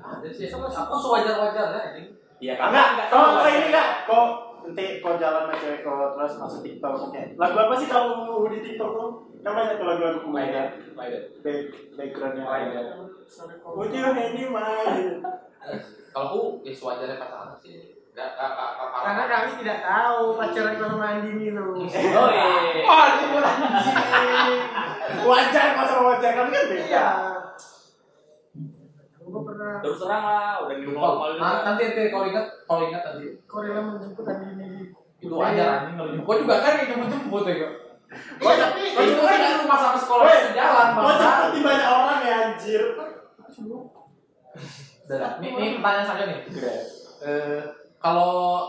Ada sih. Aku sewajar-wajarnya ini.
Iya kan?
Enggak, kau apa ini enggak? Kau nanti kau jalan sama cewek kau terus masuk TikTok. Oke. Lagu apa sih kalau di TikTok lu? Kan banyak tuh lagu-lagu
Mainnya,
kumainnya.
mainnya.
Back backgroundnya.
Mainnya.
Would you hand me mine?
Kalau aku ya sewajarnya pasangan sih. Enggak, enggak, enggak, enggak parah.
Karena kami tidak tahu pacaran kalau mandi itu.
Oh iya.
Wajar kok sama wajar kan kan
Iya.
beda.
Gue pernah
Terus terang lah, udah di
Kalau-
normal
nah, nanti nanti kalau ingat, kalau ingat nanti
Korea menjemput Andini di.
itu wajar anjing kalau jemput. Gua juga kan yang jemput-jemput ya.
Oh,
Gua.
Iya, tapi
Gua juga kan di rumah sama sekolah
Woi,
sejalan,
Kau
Bang.
seperti banyak orang ya anjir.
Udah, Nih, nih pertanyaan saja nih. Eh, kalau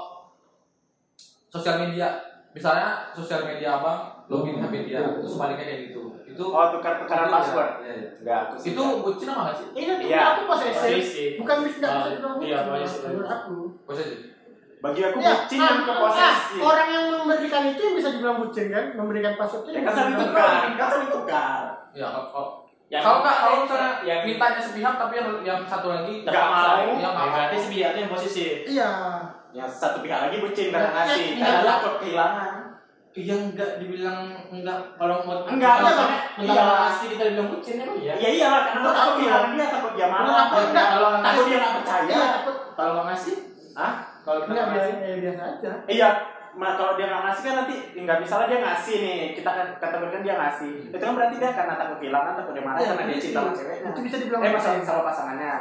sosial media, misalnya sosial media abang login HP dia, terus baliknya kayak gitu. Itu
Oh tukar tukaran
itu-
password.
Iya, iya.
Enggak, aku sih.
Itu bucin apa nggak sih?
Ini tuh
Iya. Ah,
aku posesif.
Posesif.
Bukan bisa tidak bisa
Oh,
dibilang
iya,
bucin,
posesif.
menurut aku.
Bocah sih.
bagi aku
Iya,
bucin
ah,
yang ke
ah,
posesif.
Orang yang memberikan itu yang bisa dibilang bucin kan? Memberikan password itu. yang
Ya kan
bisa
saling
dibilang-
tukar, kan saling tukar.
Ya, kalau- kalau
Yang-
kalau nggak kalau misalnya
yang-
mintanya sepihak tapi yang, yang satu lagi
Nggak mau.
yang nggak mau
berarti sebiaknya yang posisi
Iya.
yang satu pihak lagi bucin karena
Nah,
ngasih
eh,
karena
enggak.
takut kehilangan
iya enggak dibilang enggak kalau mau
Enggak,
kalau
iya,
misalnya
Bang.
enggak
Iya.
pasti kita bilang bucin emang iya
iya iya lah karena
Menurut
takut
aku.
kehilangan dia takut dia
Menurut
marah
aku enggak.
kalau
takut dia nggak percaya
Iya, takut.
kalau nggak ngasih
Hah?
kalau kita
Enggak
nggak
biasa,
ngasih
eh, biasa aja.
iya Ma, kalau dia nggak ngasih kan nanti nggak misalnya dia ngasih nih kita kan kategorikan dia ngasih itu kan berarti dia karena takut kehilangan takut dia marah
Iya,
karena dia cinta sama ceweknya
Itu bisa dibilang
eh
bucin.
masalah sama pasangannya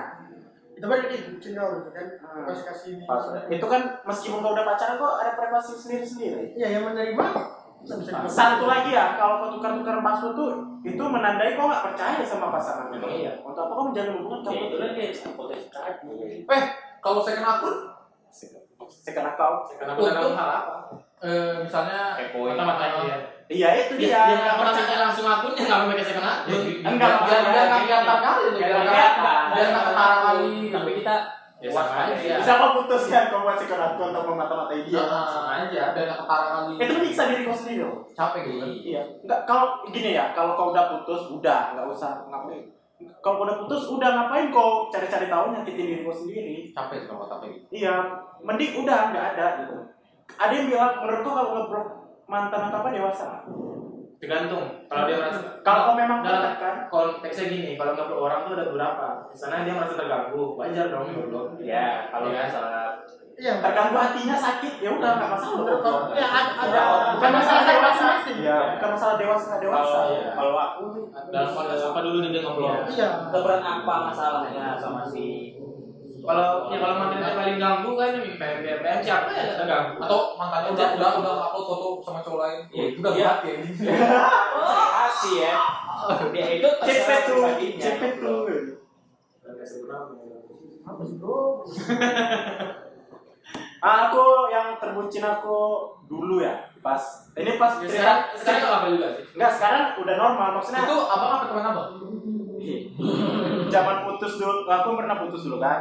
Itu baru jadi bucin kau gitu kan.
Hmm.
Pas kasih ini.
Pas- itu kan meskipun kau udah pacaran kok ada privasi sendiri sendiri
Iya, yang menerima nggak bisa dibilang.
satu lagi ya kalau kau tukar-tukar password tuh itu menandai kau nggak percaya sama pasangan
Emang iya.
untuk apa kau menjalin hubungan
Ya,
kamu tuh
itu kan dia potensi cakep.
eh kalau second akun
sekarang kau
karena bukan dalam hal apa
eh, misalnya
Kepoin.
mata dia
iya itu dia
dia nggak pernah minta langsung akunnya nggak pakai second akun
Enggak,
biar biar nggak
enggak
kelihatan kali itu biar
Biar
nggak biar nggak ketara kali
Tapi kita
Ya, sama
waspada.
aja.
bisa kau putus kan kau buat sekarang kau untuk memata-matai
Iya,
dia
sama aja biar nggak ketara kali
itu menyiksa diri kau sendiri loh
capek gitu kan
iya nggak kalau gini ya kalau kau udah putus udah nggak usah ngapain kalau kau udah putus udah ngapain kau cari-cari tahu nyakitin diri kau sendiri
capek sih kalau capek gitu
Iya, mending udah nggak ada gitu. Ada yang bilang menurut kau kalau ngeblok mantan atau apa dewasa.
tergantung kalau dia merasa
Kalau kau memang
Nah.
tertekan,
konteksnya gini kalau nggak orang tuh ada berapa misalnya dia merasa terganggu wajar dong goblok
Ya, kalau
Hmm. Iya.
masalah
Iya.
terganggu hatinya sakit, ya udah nggak masalah.
Menurut kau, ya ada ada
bukan masalah
ada
dewasa.
masing-masing.
Iya, bukan masalah dewasa nggak dewasa.
kalau
iya.
kalau aku
dalam konteks apa dulu nih dia ngobrol
Iya.
seberat apa masalahnya sama si
kalau ya kalau mantannya paling ganggu kan ya PM PM siapa yang nggak terganggu atau
atau mantannya udah udah udah upload foto sama cowok lain
Iya,
itu udah
iya.
berat ya
hati ya. Ya itu
Cepet tuh,
pribadinya.
cepet tuh.
Apa sih, bro?
Ah, aku yang terbucin aku dulu ya, pas ini pas
ya,
cerita
sekarang sekarang nggak apa juga sih
Enggak, sekarang udah normal maksudnya.
[LAUGHS] itu abang apa teman abang
Zaman putus dulu, aku pernah putus dulu kan?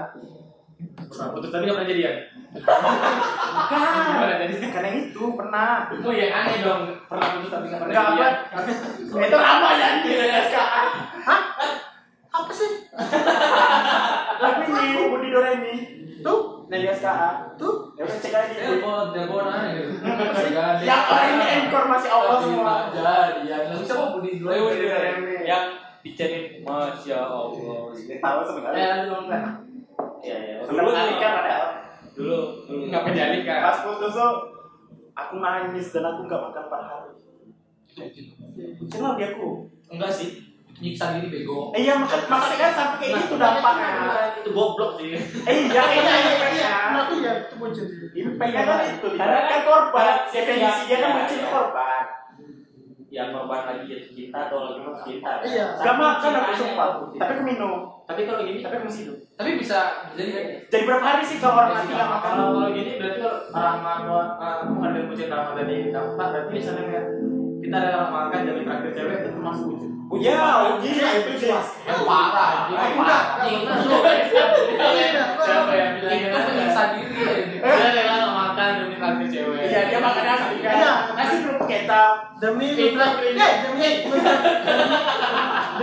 putus tapi nggak pernah jadian
Bukan.
Gimana jadi
Karena Kan? yang itu pernah.
oh ya aneh dong pernah putus tapi nggak pernah
Nggak
jadian
itu apa ya? SKA.
Hah? Apa sih?
Lagu ini Budi Doremi.
Tuh,
Nelly SKA.
tuh.
Ya udah cek aja.
telepon telepon aja gitu
Yang orang ini encore masih Allah semua.
jadi ya nggak bisa mau budi dulu
Woi, woi,
ya
woi. yang dicariin masya allah
Tahu sebenarnya.
ya dong kan
ya ya
Seneng kali kan ada.
dulu
nggak pernah jadian kan
Ya. Pas putus tuh aku nangis dan aku nggak makan per hari. Kucing lagi aku.
enggak sih
nyiksa diri bego
Eh, Iya makan makan kan sampai kayak gitu
kan
dampaknya.
itu goblok sih
Eh iya iya iya iya.
Berarti ya itu bucin sih.
Impactnya kan itu.
Karena
Kan korban.
karena-
Definisi dia kan
iya,
bucin
iya.
korban.
yang korban lagi jatuh cinta atau lagi masuk cinta
Iya.
Gak makan aku sumpah. Tapi aku minum.
tapi kalau gini
Tapi aku masih hidup.
tapi bisa jadi kan
Jadi berapa hari sih kalau orang
Iya,
mati
iya.
nggak makan?
kalau kalau gini berarti kalau rahmat aku nggak ada bucin rahmat dari dampak berarti misalnya kayak kita ada makan dari terakhir cewek itu termasuk
Nah,
bucin
Ya, gila itu sih.
yang parah
Ah,
yang
enggak.
parah
Itu
Siapa
siapa yang bilang
itu menyiksa diri ya
Dia rela nggak makan demi terakhir cewek.
Iya, dia makan nasi kan.
Iya.
Nasi kerupuk kecap.
Demi
Fitnah,
mitra-
fitnah.
eh, demi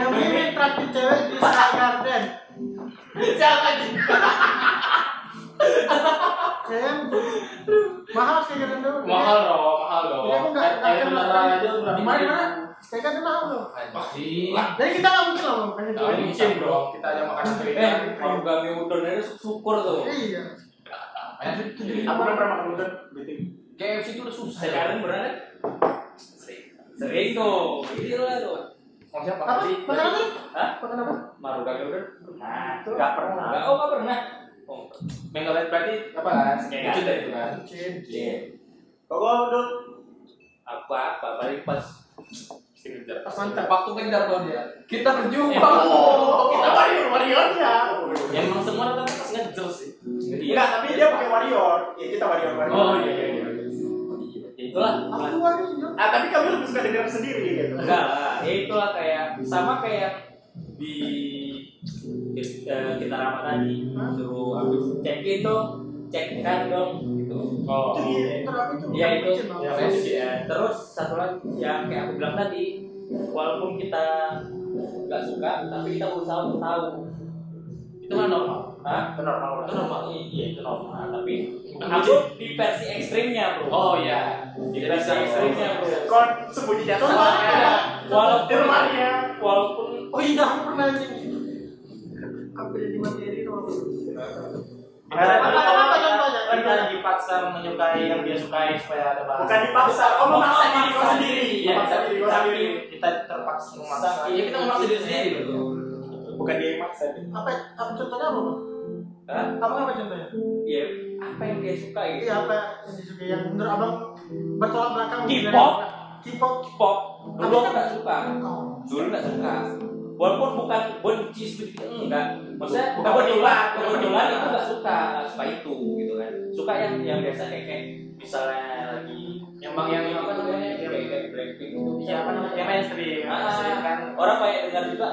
demi mitra di cewek di Star Garden.
Jangan.
Ya kan? Mahal sih kan dulu.
Mahal loh, mahal loh.
Iya, aku nggak- nggak
Air
kenal.
mineral aja udah
di mana di mana
Kayak kan mahal loh.
pasti
Jadi kita nggak mungkin lah iya. memakai itu.
Nggak mungkin bro, kita aja makan cewek.
eh origami udon itu syukur tuh
Iya.
Iya.
Aku belum pernah makan udon. Gitu. betul.
KFC itu udah susah
sekarang berada sering tuh gila tuh
Mau siapa
Apa? kan
Jadi,
Makan apa?
Hah?
Makan apa?
marugami udon pernah
Nggak pernah.
Nggak, oh nggak pernah oh
Mengelet berarti apa kan?
Iya.
Bucin dari itu kan.
Bucin.
iya
Kau udon.
apa apa paling pas
Pas mantap.
waktu ngejar kalau dia kita berjumpa
Oh, kita warrior warrior ya.
Emang semua rata pas
ya?
ngejer sih.
Enggak, Iya, tapi dia pakai warrior. Ya kita warrior warrior.
Oh iya iya. iya.
Ya, itulah
Aku warrior.
Ah, tapi kami lebih suka dengar sendiri gitu.
enggak lah ya itulah kayak sama kayak di eh, kita ramah tadi suruh habis check in dong cek kan dong gitu
Oh.
Itu di terapi itu.
Iya, itu.
Bucin, Bang.
Ya,
ya terus terus satu lagi yang kayak aku bilang tadi walaupun kita nggak suka tapi kita berusaha untuk tahu
itu kan normal
Hah?
itu normal lah
itu normal
iya itu normal tapi
Bukan
aku di versi ekstrimnya bro
oh iya
di versi ekstrimnya bro
kon sembunyi jatuh
Normal.
di
walaupun
rumahnya
walaupun
Oh iya, aku pernah anjing. Aku jadi materi itu aku.
Apa-
apa- apa contohnya?
kita dipaksa menyukai yang dia sukai supaya ada bahan
bukan dipaksa kamu Oh, memaksa diri kau sendiri
Iya,
Memaksa diri kau
tapi
sendiri
kita terpaksa memaksa
Iya, kita memaksa diri sendiri,
bro
bukan dia yang maksa
Apa apa contohnya apa? Bang?
Hah?
Apa apa contohnya?
ya apa yang dia suka gitu? itu
Iya, apa yang disukai yang menurut Abang bertolak belakang
K-pop?
K-pop.
pop dulu aku nggak suka
Oh.
dulu nggak suka walaupun bukan benci seperti enggak maksudnya
Bukan
kebetulan
benci.
kebetulan itu nggak suka nggak suka itu gitu kan suka yang yang biasa kayak kayak misalnya lagi
yang bang yang apa namanya yang
kayak kayak Blackpink itu
yang apa
Iya,
namanya yang mainstream
Ah,
mainstream kan
orang banyak dengar juga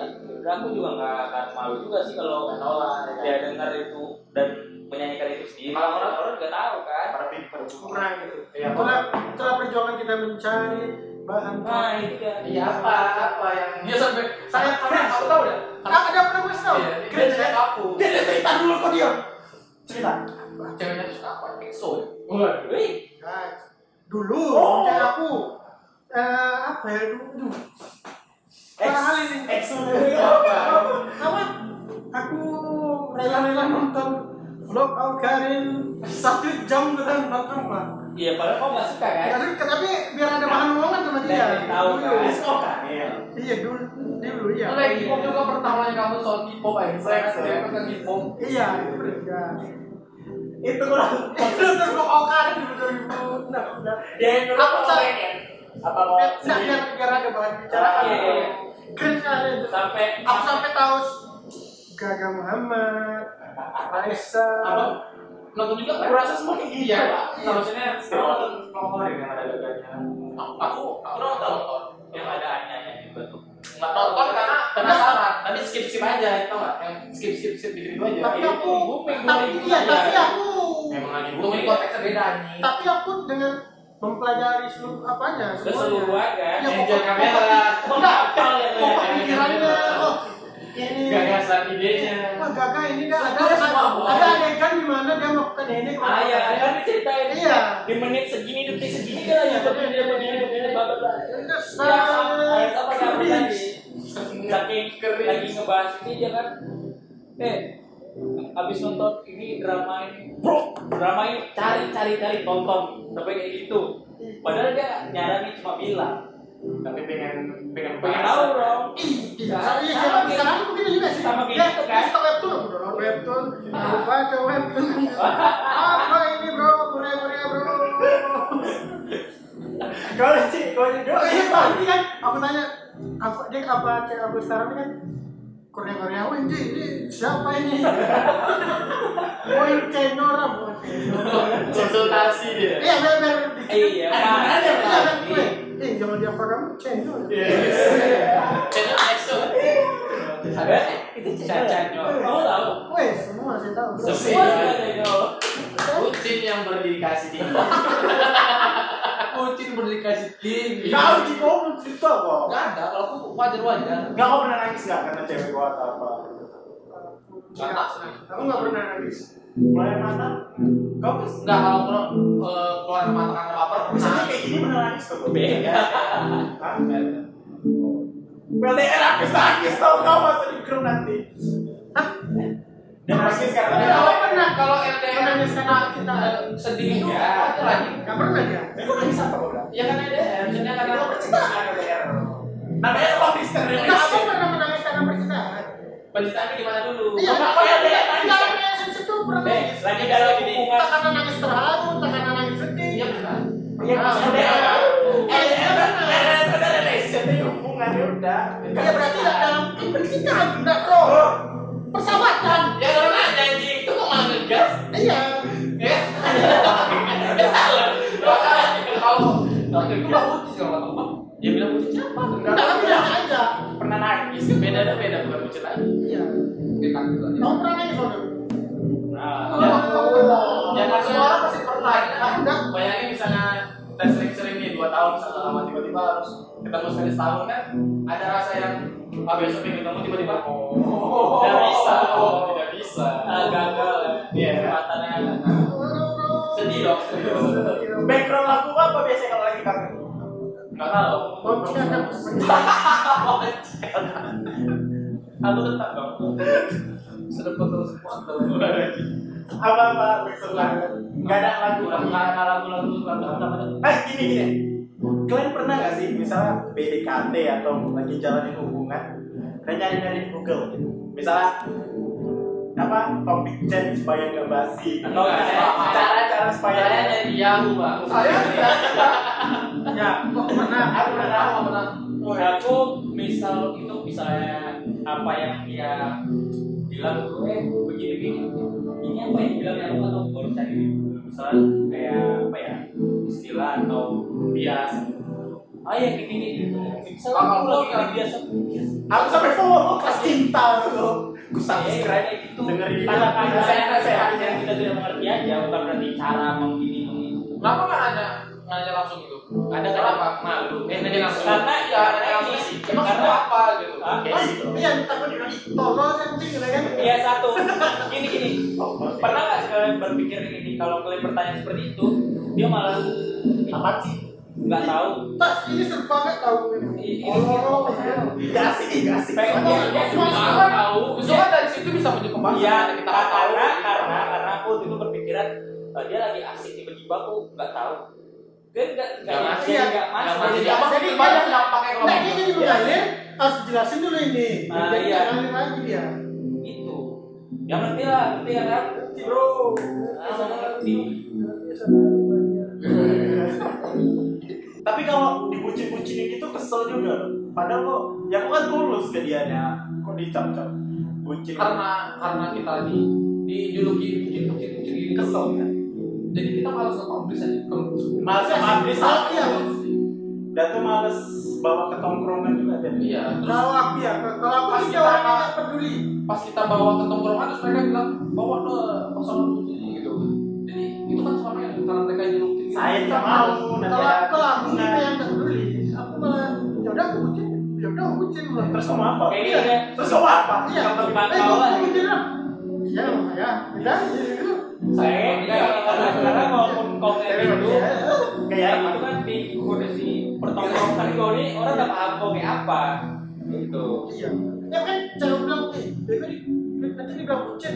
dan aku juga nggak akan malu juga sih kalau
nggak nolak ya kan?
dia dengar itu dan menyanyikan itu sendiri
Malah
orang orang nggak tahu kan
para pinter
pernah gitu.
Iya,
Setelah setelah perjuangan kita mencari bahan.
nah itu dia
Iya apa apa yang
Dia sampai
Saya pernah
aku tahu dah.
Ah, ada pernah gue tau?
Iya, dia
Keren,
cek
kan?
aku.
Dia dia cerita dulu kok dia.
cerita
ceweknya terus apa? EXO ya?
Wih,
Nah, dulu
Oh.
kayak aku eh apa ya dulu aduh. Parah kali ini.
apa
apa aku rela-rela nonton vlog Al Karim satu jam dengan empat rumah
iya padahal kau nggak suka kan
ya, tapi- tapi biar ada bahan omongan sama dia
Biar tahu,
Dulu.
kan?
Esko kan ya
iya dulu dulu iya
Nah, kayak K-pop juga pertamanya kamu soal K-pop aja. Saya
Saya-
saya kan K-pop.
iya itu berbeda
itu kurang
itu terus vlog Al Karim dulu dua ribu enam belas
dia yang dulu
Aku tahu.
apa mau
Biar- nah,
sendiri?
biar biar ada bahan bicaraan
Iya, iya, iya.
keren sekali itu
sampai
aku sampai tahu Gaga Muhammad Raisa
Apa? Nonton juga
aku
kan?
rasa semua kayak gini
Iya,
ya
Pak. Harusnya
Semua
nonton
nonton favorit yang ada gaganya
aku aku nonton.
yang ada anyanya juga tuh
Nggak nonton karena penasaran. Tapi skip skip aja, tau nggak? Yang skip skip skip gitu aja.
tapi
Iya.
aku
booming,
tapi
booming.
iya tapi
Iya.
aku
emang lagi
Itu ini
booming
konteksnya beda anjing.
tapi aku dengan mempelajari seluruh apanya
keseluruhan kan
Iya,
Angel
pokok-
kamera,
enggak
Kapal yang
pokok
iya, iya,
pikirannya
iya.
oh ini
gagasan
ini,
idenya.
wah gagah ini kan ada
Semua, semua, semua.
ada adegan di mana dia melakukan ini
ah ya kan diceritain
Iya.
di menit segini detik segini kan ya tapi dia begini begini bla bla bla
Itu
Ya, sama-
sangat
apa yang
cringe.
saking lagi ngebahas ini dia kan eh abis nonton ini drama ini bro drama ini cari cari cari tonton sampai kayak gitu padahal dia nyaranin cuma bilang
Tapi pengen pengen
pengen tahu dong
Iya,
Sama-
iya,
sama
zaman sekarang aku gitu juga sih.
sama kayak
Dia
gitu, kan?
suka webtoon, aku download webtoon, aku baca webtoon. Apa ini bro, Korea-Korea bro.
kau sih kau juga
Oh, iya, pasti kan. Aku tanya, apa dia apa cek aku sekarang ini kan Korea Koreawan dia ini siapa ini? Boy Kenora, Boy Kenora.
konsultasi dia.
Iya, biar biar
iya
Ada
Pak.
ada,
Iya, kan,
Iya.
gue. Eh, jangan dia apa kamu Kenora.
Channel EXO.
ada itu caca kamu tahu
Weh, semua saya tahu.
Iya.
bro.
Iya. Semua.
semua caca
Kucing yang berdedikasi tinggi.
Kucing berdikasi tinggi.
kau di kau belum cerita kok
Nggak ada, kalau aku wajar wajar.
nggak kau pernah nangis nggak karena cewek kau atau apa
Iya. Aku nggak pernah nangis.
mulai mana kau pas
Enggak kalau kalau eh, keluar mata karena lapar
misalnya
pernah.
kayak gini pernah nangis tuh
beda
Hah? PLTR aku nangis tau kau masuk di grup nanti dia nangis karena
Tapi
dia
kalau pernah kalau
LDR
nangis karena kita
eh,
Sedih itu
Iya.
wajar anjing.
nggak pernah dia.
tapi kau nangis apa kau bilang
Ya kan ada, maksudnya
karena
karena
percintaan PLTR namanya apa Mister
Nah, aku
Relation
pernah menangis karena percintaan.
pencintaannya gimana dulu?
Iya,
Kenapa
tapi
ya, Dek?
di dalam relationship tuh pernah
Eh,
nangis.
lagi dalam hubungan
Tak karena nangis terharu, tak karena nangis sedih.
Iya benar.
Iya,
Ah,
maksudnya
udah.
dia-
Eh,
Eh,
iya,
ada
benar.
ada relation dia hubungan ya udah
Iya berarti nggak dalam percintaan, enggak bro. Persahabatan.
Ya kalau nanya anjing itu kok malah ngegas?
Iya.
Ya? Ya salah. Kalau kalau
Itu
ngegas.
mah kucing kalau kata Bang.
Ya bilang bucin siapa?
Enggak tapi bilang aja.
pernah nangis
Beda ada beda bukan bucin lagi.
Iya.
Di kaki tuh, anjing.
Kamu pernah nangis loh. Dok?
nah
Oh.
Ya kan semua orang pasti pernah.
Enggak.
Bayangin misalnya udah sering-sering nih 2 tahun setahun satu sama tiba-tiba harus ketemu sekali setahun kan ada rasa yang ah besok pengen ketemu tiba-tiba oh tidak bisa oh tidak bisa
Ah, gagal ya.
Iya.
Kesempatannya gagal.
sedih dong
Background lagu apa biasanya kalau lagi kangen?
nggak tahu aku tetap dong sedap terus
Apa-apa background lagu? Gak ada lagu
lagu lagu-lagu lagu apa tuh
Eh gini gini. Kalian pernah gak sih misalnya PDKT atau lagi jalanin hubungan, kalian nyari nyari di Google gitu. Misalnya apa topik chat supaya nggak basi atau
Nggak,
cara-
saya-
cara-cara supaya
saya dari Yahoo bang
Saya tidak. Ya, kok pernah?
aku pernah aku pernah
aku misal itu misalnya apa yang dia bilang tuh eh begini begini ini apa yang bilang ya lupa atau baru cari di Google. misalnya kayak apa ya istilah atau bias ah ya kayak gini gitu misalnya
Kalau
aku lagi
logika.
nggak biasa bias
aku sampai follow pas cinta lo aku
ya
subscribe
kayaknya gitu
Dengerin.
tanda-tanda saya
Saya- saya-
yang kita tidak mengerti aja bukan berarti cara menggini menggini
Kenapa nggak ada nanya langsung gitu?
ada
Kenapa?
kenapa malu eh nanya langsung
Karena ya,
nanya langsung
ini-
sih emang
karena-
karena apa gitu
Ah,
Kayak gitu.
Iya, takut dibilang tolol nanti gitu kan.
Iya satu. Gini gini. Pernah nggak sih kalian berpikir ini kalau kalian bertanya seperti itu, dia malah apa sih? Nggak tahu.
Pas ini seru banget tahu ini.
Ini-
Tolol.
gak asik gak asik
Pengen
Semua
dia- dia
semua
semua
semua.
tahu.
tahu
Justru kan dari situ bisa menjadi pembahasan.
Iya.
kita
Karena
tahu.
karena karena karena aku waktu itu berpikiran eh, dia lagi asik tiba-tiba aku nggak tahu. Dia nggak nggak
Nggak
masih ya?
masuk.
nggak
Nggak
masuk.
masuk.
Jadi
Iya,
apa?
jadi
Banyak yang pakai
Nah, ini
kelompok.
jadi mengalir, harus dijelasin dulu ini.
Ah,
Jadi
iya.
jangan lagi dia.
Itu. Yang ngerti lah, ngerti gitu. ya kan?
Bro.
Ah, sama ngerti.
tapi kalau dibucin-bucinin gitu kesel juga padahal kok ya aku kan tulus ke dia kok dicap-cap bucin
Karena karena kita di di dijuluki mungkin mungkin mungkin gini
kesel kan
Jadi kita malas nge-publish aja. Ke-
males sama Abdi
Ah, iya.
dan tuh males bawa ke tongkrongan juga dan
Iya. Terus
Kalau aku ya, kalau aku
Pasti
sih orang yang
bakal-
nggak peduli.
pas kita bawa ke tongkrongan terus mereka bilang bawa ke personal sini gitu. Jadi itu kan selama yang karena mereka julukin.
saya
kita
tidak mau Nah, nanti
Kalau
ada
kalau aku
hubungan.
tipe yang nggak peduli, aku malah ya udah aku bucin, ya udah aku bucin malah.
terus kamu apa
Kayak gini ya.
terus kamu apa
Iya,
yang
eh
terpantau
gua
lah.
gua bucin lah. Iya, sama saya. Udah, jadi gitu.
Saya iya, karena karena walaupun kau kayak gitu,
Iya.
kayak ya.
Kayak
apa
gitu kan di udah di pertongkrongan kau nih orang udah paham kau kayak apa gitu.
Iya. Ya kan jangan bilang eh bego di nanti dibilang bucin.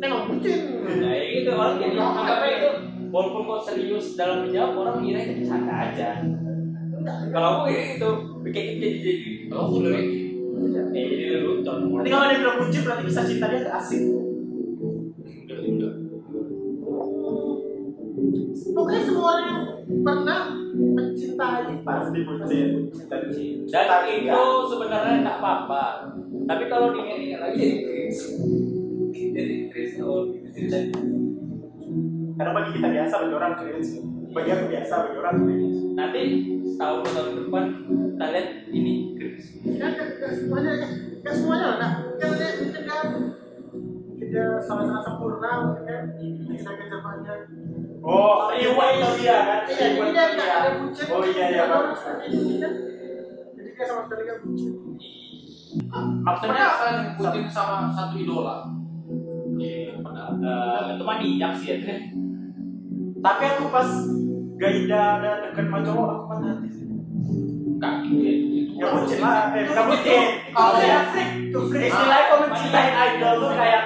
Nengok bucin.
Nah ya gitu orang jadi anggapnya itu walaupun kau serius dalam menjawab orang ngira itu bercanda aja.
Enggak.
Kalau aku kayak gitu, kayak gitu jadi jadi
Oh, udah Ricky.
eh jadi lelucon.
nanti kalau dia bilang bucin berarti kisah cinta dia nggak asik
Udah, udah.
Pokoknya semua orang yang pernah mencintai
pasti bucin dan
Dan itu sebenarnya nggak apa-apa. Tapi kalau diingat-ingat lagi jadi cringe. Jadi cringe oh, gitu. Jadi
karena bagi kita biasa bagi orang cringe bagi aku biasa bagi orang cringe
Nanti setahun dua tahun ke depan kita lihat ini cringe.
ya nggak nggak semuanya nggak semuanya lah. Nah, kan lihat mungkin kan tidak sama-sama sempurna mungkin kan bisa kejamannya.
oh rewind tuh dia kan
Iya, jadi dia nggak ada bucin.
oh iya iya
Nggak ada
Bang.
bucin, kan? Jadi dia sama sekali nggak bucin.
Maksudnya kalian ngikutin sama satu idola.
Iya, pernah. Eh, itu maniak sih ya. Tren.
tapi aku pas Gaida ada deket sama cowok aku patah hati sih
Enggak gitu ya. Itu
ya
kan
bucin lah eh
itu
bukan bucin
Kalau
kalau
ya.
saya freak tuh freak istilahnya kalau mencintai idol tuh kayak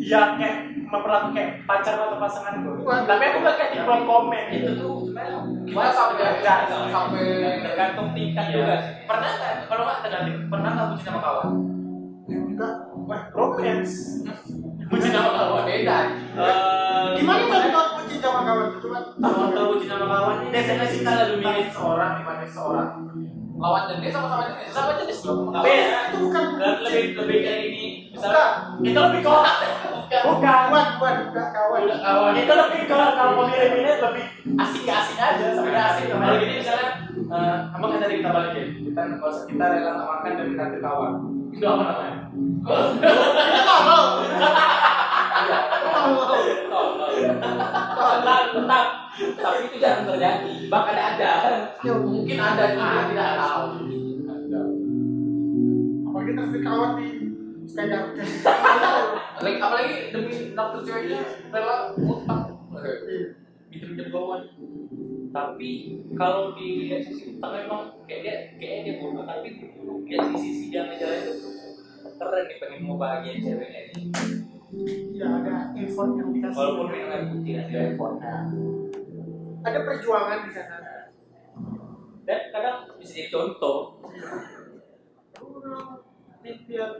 dia kayak memperlakukan kayak pacar atau pasangan gue
Wah.
tapi aku gak kayak dibuat komen gitu
itu tuh sebenarnya
Kita sampai sampai
tergantung tingkat
Iya.
juga sih.
pernah nggak kalau nggak tergantung pernah nggak bucin sama kawan
Enggak.
wah romance
bucin sama kawan
beda.
Eh,
Gimana kalau kalau bucin sama kawan? Cuma
kalau kalau bucin sama kawan ini biasanya cinta lebih milih seorang dibanding seorang
Lawan jenis sama-sama jenis.
sama jenis dong
Tapi itu bukan
le- lebih lebih dari ini
Bukan.
misalnya
itu lebih ke bukan
kawan, bukan enggak kawan.
udah kawan
itu lebih ke kalau mau milih-milih lebih asik gak asik aja sebenarnya asik
kalau
namanya
gini misalnya eh, abang kan tadi kita balikin kita nggak usah kita rela nggak makan demi takdir kawan itu apa namanya
Tolong. Tolong.
Tolol.
[LAUGHS]
Tentang, tentang. Tapi itu jarang terjadi. Bahkan ada.
Ya,
Mungkin ada cuma tidak
Ah,
tahu.
iya, apalagi terus dikawat di sepeda.
Apalagi, apalagi demi dapet ceweknya rela utang. Pinjam-pinjam gawan.
Tapi kalau dilihat sisi utang memang kayak dia kayaknya dia bodoh. Tapi lihat di sisi dia ngejalan itu keren nih pengen mau bahagiain ceweknya nih.
Ya ada effort yang dikasih.
Walaupun main lagu tidak
Iya,
ada effort.
ada perjuangan di sana.
Dan kadang bisa jadi contoh.
Ya Impian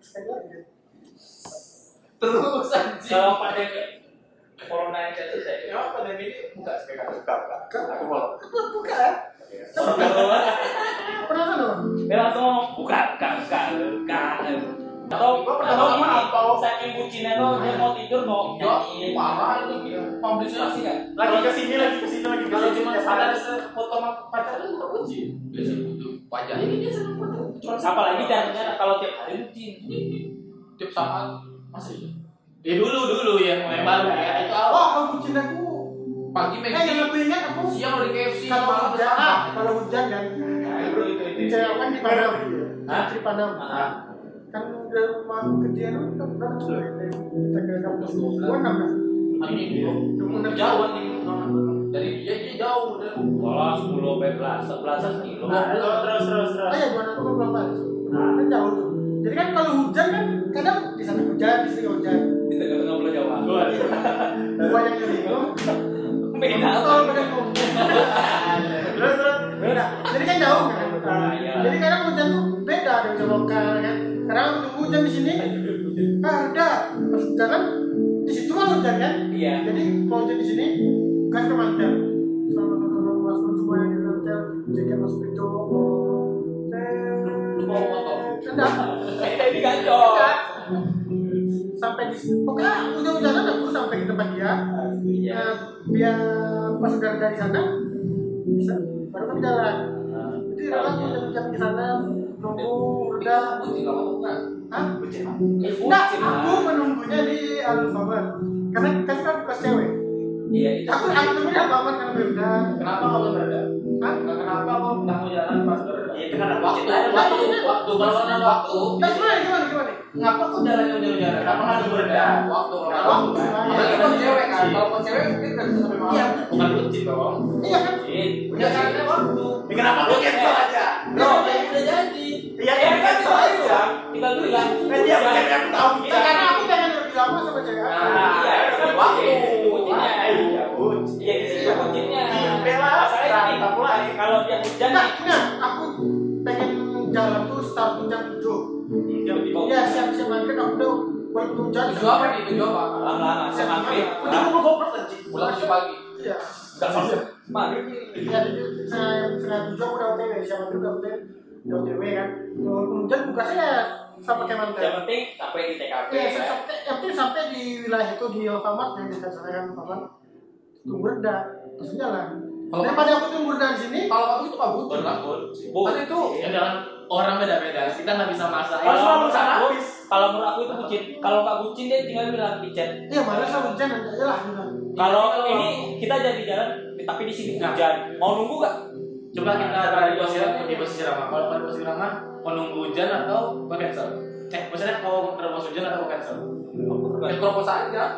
sepeda gitu.
Terus anjing.
Kalau pandemi corona yang selesai.
Emang pandemi Ya, ini buka sepeda?
Buka, buka. Aku follow.
Buka ya? Pernah kan dong?
Dia langsung ngomong, bukan, bukan, bukan, bukan. Atau,
Gua pernah
atau
ngomong
gini,
apa?
kalau saking bucinnya tuh, dia mau tidur mau
Ya,
nyanyi.
parah itu dia. Publisnya
Masih
sih.
nggak?
Lagi ke sini, lagi ke sini, lagi ke
Kalau
sini.
cuma
Tiap hari.
sadar foto sama pacar lu nggak uji.
Biasa butuh pajak. Ini dia seneng butuh. Cuma
Apalagi caranya kalau tiap hari rutin.
tiap saat masih.
Ya dulu dulu ya, yang baru ya itu awal.
Oh, kalau bucin aku. Eh,
Pagi
yang
Meksi,
aku ingat aku
siang udah di KFC,
kalau
malam
hujan,
bersama.
kalau hujan kan.
Nah, itu, itu, itu. itu.
Cewek kan di Padang.
Hah?
Di Padang.
Ah,
Kan dari rumah ke dia kan berapa tuh? Dari Kita ke kampus. Gua enam kan.
Anjing, bro.
Enam
Jauh nih. nona.
Nah, Dari dia dia jauh udah.
Kalau 10 sampai belasan, belasan kilo.
Nah, terus terus terus.
Oh ya, gua enam gua belum balik. Kan jauh tuh. Jadi kan kalau hujan kan kadang di sana hujan, di sini hujan.
Di tengah-tengah pulau Jawa.
Gua yang bingung.
Beda.
Tolong pada ngomong.
Terus terus.
beda jadi kan jauh kan
Ah, iya.
jadi kadang hujan tuh beda ada hujan lokal kan kadang tunggu hujan di sini ah ada pas jalan di situ kan hujan kan
Iya.
jadi kalau hujan di sini gas ke mantel sama sama masuk semua yang di mantel jadi masuk pintu
Lu bawa motor?
Enggak,
Beda ini gacor.
enggak. sampai di pokoknya hujan-hujanan aku sampai ke tempat dia
Iya.
Nah, biar pas udah dari sana bisa baru kan jalan jadi rela jam-jam di sana nunggu udah
Aku tinggal mau enggak?
Hah?
Bucin.
Enggak, aku menunggunya di Alfamart karena kan kan kos cewek
Iya, itu.
aku aku tunggu di Alfamart karena beda
Kenapa kamu berada?
Hah?
Nggak, Kenapa kamu nggak mau jalan pas berada?
Iya, itu kan ada
Waktu,
bucin.
waktu, waktu, kalau ada waktu,
nah gimana gimana gimana
Ngapa kok jalannya jauh-jauh? Kenapa nggak nunggu reda? Nah,
waktu, waktu.
waktu
Apalagi
lah
kalau cewek kan, kalau kalau cewek mungkin nggak bisa sampai malam.
Iya.
Bukan bucin dong.
iya kan
Bucin.
Udah karena waktu.
Ya, Kenapa lu cancel aja?
Bro, udah jadi.
Iya, ya, kan soalnya.
Tinggal bilang.
Kan dia bukan yang tahu
Ya,
kita kan.
karena aku pengen lebih lama sama cewek aku
Iya,
Nah,
waktu.
Ah, Iya, bucin.
Iya, di situ kuncinya.
Bella,
Masalahnya gini,
tak pula ini.
kalau dia hujan
nah,
nih,
nah aku pengen jalan tuh start jam 7 ya siap-siap maghrib aku udah walaupun hujan
Tujuh apa nih? Tujuh apa?
lama-lama saya maghrib.
Udah mau goblok aja.
Pulang tujuh pagi.
Iya.
Enggak sosok. Maghrib nih.
Ya, jadi saya setengah tujuh aku udah OTW, siapa tuh udah OTW, udah OTW kan. Walaupun hujan bukannya ya sama kayak mantan.
Yang penting sampai di TKP.
Iya,
ya.
sampai yang penting sampai di wilayah itu di Alfamart dan di sana kan Alfamart. Tunggu reda, langsung jalan.
Kalau-
Daripada aku tunggu reda di sini,
Kalau waktu itu nggak butuh kan?
Bu,
Kan itu
Ya jalan orang beda-beda. Kita nggak bisa Iya. maksain.
Kalau
Kalau
menurut aku, kalau menurut aku itu bucin. Kalau nggak bucin dia tinggal bilang di chat.
ya malas sama hujan nanti aja lah gitu.
Kalau ini kita jadi jalan, tapi di sini hujan. Mau nunggu nggak?
Coba kita tarik posisi di posisi ramah. Kalau pada posisi ramah, mau nunggu hujan atau mau cancel? Eh, maksudnya mau terus hujan atau mau cancel?
ya propose aja.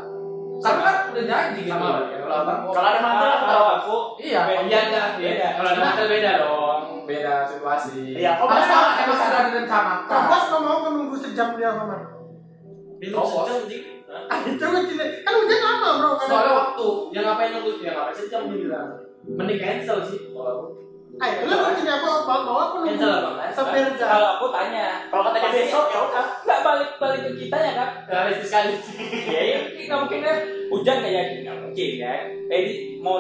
Karena kan udah janji gitu.
Sama berarti. Kalau abang,
Kalau ada mantel aku
Kalau
tahu.
aku,
Iya.
iya iya, beda. Kalau ada
Nah.
mantel beda dong, beda situasi.
Iya, kok
Apa
bisa?
sama emang sudah
Nah,
direncanakan?
bos nggak mau menunggu sejam di Alfamart.
Bingung
Oh,
sejam, Ji.
Ah, itu hujan, kan hujan lama bro.
Soalnya
Kan.
waktu.
Ya ngapain nunggu? Ya ngapain sejam dia bilang. Mending cancel sih. Oh, Kalau aku.
Ah, itu lah hujannya aku mau mau aku
Cancel
nunggu
abang.
sampai reda.
kalau aku tanya,
Kalau katanya besok ya udah.
nggak balik balik ke kita ya kan?
Realistis sekali.
[LAUGHS] Iya, iya, nggak mungkin kan? Hujan nggak jadi, nggak mungkin kan? Jadi mau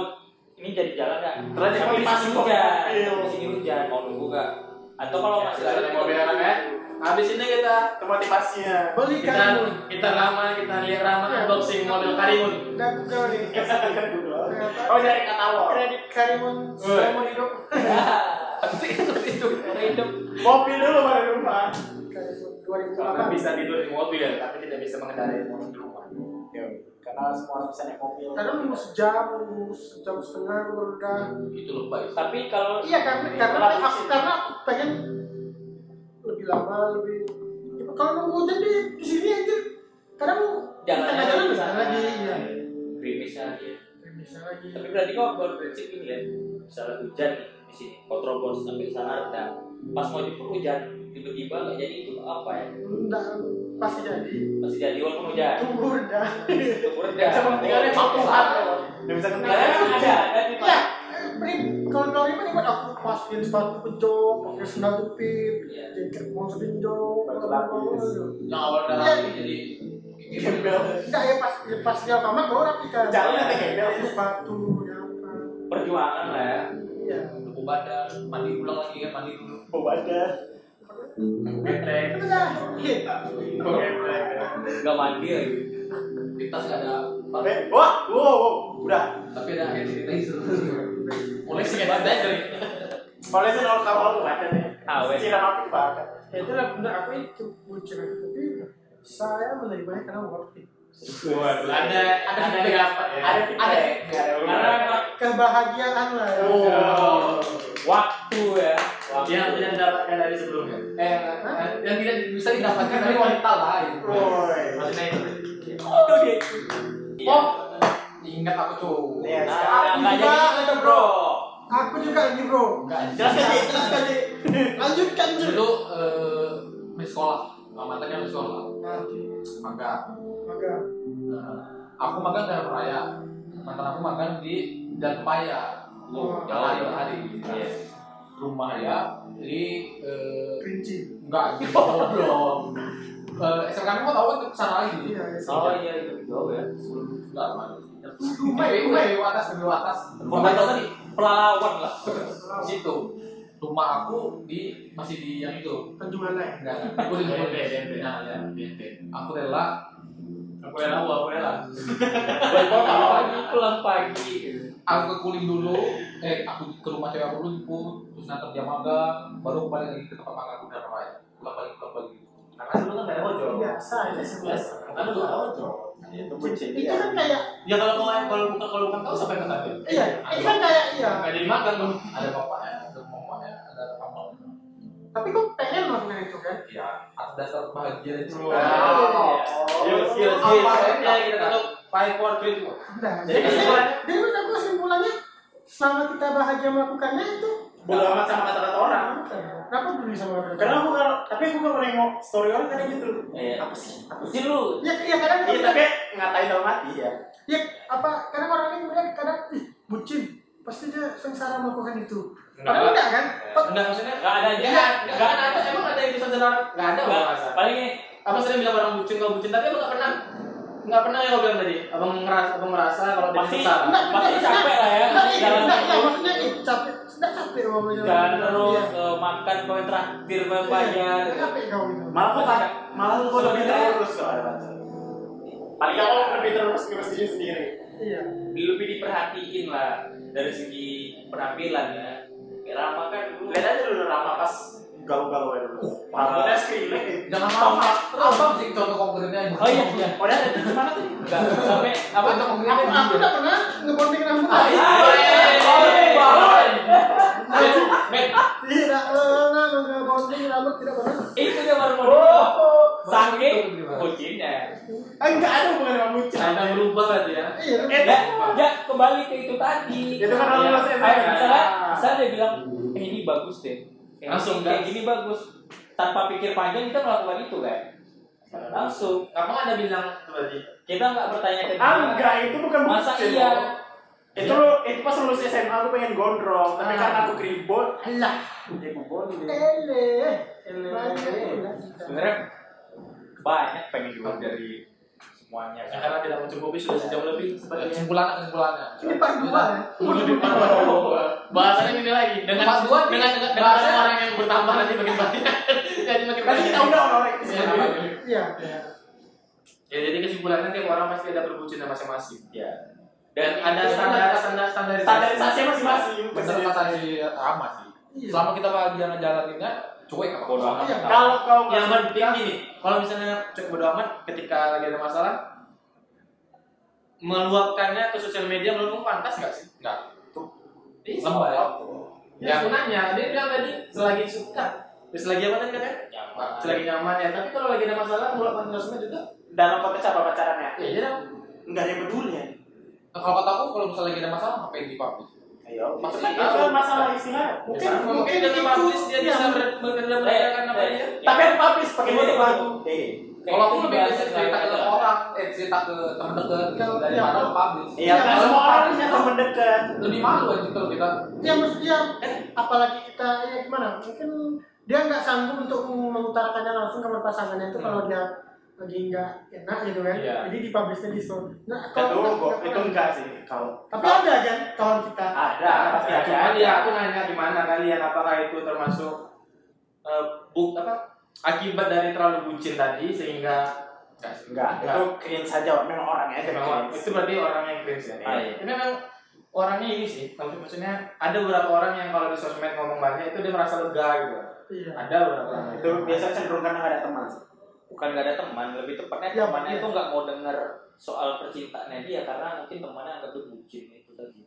ini jadi jalan nggak?
Terlanjur
Tapi di
masuk
sini
ke
hujan,
mobil.
di sini hujan. Mau nunggu nggak? Atau kalau masih
Kita mau beda
lagi,
kan? Habis ini kita
Itu motivasinya.
Beli
kita
kan.
kita ramah, kita lihat ramah
Iya.
unboxing model Karimun.
Udah aku kau nih.
Oh, dari kata lo.
Kredit Karimun seumur hidup.
hidup.
Mobil dulu baru rumah.
Karimun
Karena
2008.
bisa tidur di mobil, tapi tidak bisa mengendarai motor di rumah.
karena semua harus bisa naik mobil
kadang nunggu sejam nunggu sejam setengah aku baru udah
Itu lebay.
[LAUGHS] Tapi kalau
iya karena karena aku karena aku pengen lebih lama lebih Ya, kalau nunggu hujan di di sini aja kadang di
Jalannya
tengah jalan bisa lagi iya
gerimis lagi.
bisa lagi
Tapi berarti kok baru prinsip ini ya. Misalnya hujan nih di sini, kotrobos sampai di sana ada. Pas mau jemput hujan, tiba-tiba nggak jadi itu apa ya?
enggak pasti jadi
Masih jadi walaupun [LAUGHS] hujan.
tunggu udah
Udah.
Cuma tinggalnya satu hari.
Dia bisa kena
Karena kan ada ada di
Iya, beri kalau kalau ini buat aku masukin sepatu penjok, pakai sandal jepit,
Iya.
jaket monster penjok,
Batu lapis.
Yang awal udah rapi jadi
Enggak ya pas ya, pas dia sama baru rapi kan.
Jalannya kayak gembel.
Pakai sepatu ya apa.
perjuangan lah ya.
Iya.
Lupu badan, mandi ulang lagi kan, mandi dulu.
bau badan
Geprek.
Itu dah. Iya. Oke.
Nggak mandi lagi.
Di tas nggak ada parfum,
Eh, wah wow, wow. udah
tapi ada hand sanitizer.
Mulai sih kayak dari
Soalnya sih nol kapal tuh ada nih.
Awet.
Siram api kebakar.
Ya itu lah benar aku itu bucin aku tapi saya menerimanya karena worth it.
ada ada
Ada
ada ada
Ada
ada
Karena emang
Kebahagiaan lah. ya.
Oh.
waktu ya. Waktu.
yang tidak didapatkan dari sebelumnya.
Eh, eh, yang tidak bisa didapatkan dari wanita lain.
Woi.
Maksudnya itu.
Oh, gitu.
Oh, ingat aku cowok.
Iya,
Nah, nggak jadi itu bro.
Aku juga ini bro.
Jelas kan sih?
Terus tadi lanjutkan Jun.
Dulu eh, di sekolah, eh, mantannya di sekolah.
Nah,
Maka
maka
Nah, aku magang dalam raya mantan aku magang di dan paya
Oh,
yang hari hari
Iya.
rumah ya di eh,
kerinci.
enggak gitu belum Eh, SMK aku mau tahu kan ke sana lagi
Iya. iya.
Oh iya itu jauh ya.
enggak lama Di BU atas BU atas
Kota itu kan pelawan lah.
di situ rumah aku di masih di yang itu
Tanjung Balai.
enggak enggak. aku di
DMP, DMP.
nah ya aku rela
Aku rela, aku aku rela.
Pulang pagi, pulang pagi.
aku ke kuling dulu eh aku ke rumah cewek aku dulu jemput terus nanti dia magang baru aku balik lagi ke tempat magang aku dan lain pulang balik pulang balik
Karena dulu kan nggak ada ojol.
Biasa aja sih. Mas.
Kan
Dulu
tuh
ada ojol.
Iya.
Itu bucin.
Itu kan kayak
Ya kalau mau kalau bukan kalau bukan kau sampai kata gue.
iya, itu kan kayak iya.
Enggak ada dimakan bang.
ada bapaknya ada mamanya ada paman
Tapi kok pengen melakukan itu kan?
ya atas dasar bahagia itu
Wow.
Iya, iya,
Apa
iya.
lainnya kita tuh
Five four three two.
Nah,
Jadi
jadi
kesimpulannya?
jadi menurut aku kesimpulannya selama kita bahagia melakukannya itu ya?
Bodo amat sama kata-kata orang.
kenapa peduli sama orang?
Karena aku kalau tapi aku kalau nengok story orang kadang gitu.
Iya.
Apa sih? Apa sih?
Jadi lu
ya, ya kadang
Iya,
kita
tapi ngatain dalam hati ya.
ya apa kadang orang ini kemudian kadang ih bucin pasti dia sengsara melakukan itu. Padahal enggak kan? Pe-
Enggak maksudnya
nggak ada
Enggak,
dia.
enggak,
Nggak
enggak ada. Emang ada yang bisa jenar? Enggak ada,
Nggak.
Bang Masa.
Paling ini
Abang sering bilang orang bucin, kau bucin, tapi abang nggak pernah nggak pernah yang kau bilang tadi. Abang ngerasa, abang merasa kalau dia
Pasti-
salah.
Enggak,
Pasti
enggak,
capek
enggak.
lah ya,
Enggak, iya,
jalan
enggak, iya,
waktu.
maksudnya ih, capek, enggak capek kalau jalan.
dan
Iya.
terus eh, makan kau yang traktir kau yang bayar.
Enggak capek kau gitu. itu.
Malah aku tak malah aku lebih
Sebenarnya-
terurus kalau ada pacar. Paling aku lebih terurus ke diri sendiri.
Iya.
Lebih diperhatiin lah dari segi penampilan ya. Kayak Rama kan dulu.
Lihat aja dulu Rama pas galau-galau aja dulu.
parah.
Rama skriling ya.
jangan malas terus apa sih contoh konkretnya
Oh iya, iya.
Udah ada tuh gimana tuh?
Nggak, sampai apa? Iya,
contoh
Aku
konkretnya
aku enggak pernah ngebonding rambut.
Ah, iya.
Oh,
Tidak pernah ngebonding rambut, tidak pernah.
Eh, Itu dia baru mau. Saking bucinnya.
Ah, Enggak ada hubungan sama bucin.
Ada berubah berarti ya.
Iya.
Eh,
Ya, ya kembali ke itu tadi.
Itu kan orang lulus
Ayo,
SMA.
misalnya, misalnya dia bilang, eh ini bagus deh. Eh,
Langsung,
kayak
kan?
gini bagus. Tanpa pikir panjang kita melakukan itu kan. Langsung.
Kapan ada bilang tuh tadi?
Kita nggak bertanya ke dia.
Ah, enggak, itu bukan
iya? Masa
bucin.
iya?
Itu lo, itu pas lulus SMA aku pengen gondrong,
Ah.
tapi karena aku keribut,
Alah.
dia bubon.
Ele.
Ele.
Sebenarnya banyak pengen juga dari semuanya.
Ya,
kan.
karena tidak mencukupi sudah sejam lebih sepertinya.
kesimpulannya kesimpulannya
Ini part dua ya?
Bahasannya ini lagi dengan
Part dua,
dengan dengan, dengan
bahasanya-
orang yang bertambah nanti makin banyak. [LAUGHS] Jadi makin
Tadi kita udah orang-orang itu
Ya,
sebenarnya.
Iya.
Ya, jadi kesimpulannya tiap orang pasti ada perbucinnya masing-masing.
Iya.
Dan ada
Iya.
standar standar standarisasi.
Standarisasi masing-masing.
bener kata si Rama sih
Iya.
selama kita bahagia ngejalaninnya cuek apa
Bodoh amat.
Iya.
Kalau kau
yang penting gini kalau misalnya cukup bodo amat ketika lagi ada masalah meluapkannya ke sosial media menurutmu pantas nggak sih?
Nggak.
Ih,
Lemah ya?
Ya, aku nanya, Iya. dia bilang tadi selagi suka, terus Ya, selagi apa tadi katanya?
Nyaman.
Selagi nyaman ya. Tapi kalau lagi ada masalah, meluapkan ke sosmed juga,
Dalam konteks apa pacarannya?
ya iya dong.
Enggak ada yang peduli ya.
Nah, kalau kata aku kalau misalnya lagi ada masalah ngapain di publish?
Ayo,
Maksudnya
maksudnya itu kan masalah istilah.
Mungkin
Ya, mungkin
mungkin
dari
itu-
publish dia
iya,
bisa ber-
Eh,
meredakan apa
eh,
dia.
Tapi yang publish pakai
Iya,
motor
iya.
baru. Eh,
Kalau aku lebih
Kayak
biasa cerita ke
kita-
orang, eh cerita ke teman dekat gitu,
Kalau-
dari
iya.
mana ke publish.
iya kan
kalau
semua orang
publish
punya
itu-
teman dekat.
Lebih malu aja kalau kita.
Ya maksudnya apalagi kita ya gimana? Mungkin dia nggak sanggup untuk mengutarakannya langsung kepada pasangannya itu kalau dia lagi nggak enak gitu kan.
Iya.
Jadi dipublishnya di story. Nah,
Kan dulu kok
nggak
itu
pernah.
enggak sih kalau
Tapi ada kan kawan kita.
ada pasti ada.
Cuman ya aku nanya di mana kalian apakah itu termasuk eh, buk apa akibat dari terlalu bucin tadi sehingga
Enggak, itu cringe saja memang ya, orangnya aja
memang
cringe.
itu berarti orang yang cringe ya.
Ah, iya.
Tapi memang orangnya ini sih, maksud- maksudnya ada beberapa orang yang kalau di sosmed ngomong banyak itu dia merasa lega gitu.
Iya.
Ada beberapa orang.
Itu biasa cenderung karena nggak ada teman.
bukan nggak ada teman lebih tepatnya
Ya,
temannya
iya.
itu nggak mau denger soal percintaannya dia karena mungkin temannya anggap dia bucin itu tadi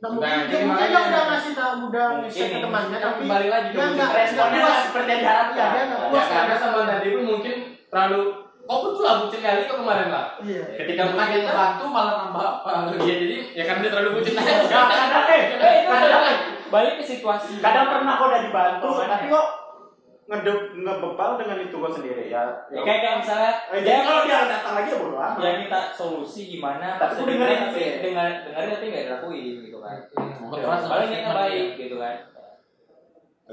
Nah, mungkin
Nah,
dia
jadi
mungkin dia
makanya-
udah ngasih tahu udah ngasih ke
Mungkin.
temannya tapi
balik lagi ke
dia
bucin.
nggak
Responnya
nggak
nggak
puas.
seperti yang
Iya,
diharapkan.
dia nggak
Ya,
puas.
karena sama
Iya,
tadi pun mungkin terlalu kok betul lah bucin kali kok kemarin lah.
Iya.
Ketika
Bukan yang
kita
bantu malah nambah apa?
Iya jadi ya karena dia terlalu bucin aja.
Nggak, kadang eh,
eh itu
Kadang-
balik- balik ke situasi
kadang pernah kok udah dibantu,
Temannya.
tapi kok ngedep ngebebal dengan itu kok sendiri ya.
Ya, kayak kayak misalnya
Eh,
dia
jadi kalau dia datang lagi ya bodo amat.
dia minta solusi gimana
Tapi
terus
aku dengerin
tapi
sih. Hmm.
dengar dengerin tapi nggak dilakuin gitu kan
Bukan
Ya,
keras,
paling niatnya
statement
baik
dia.
gitu kan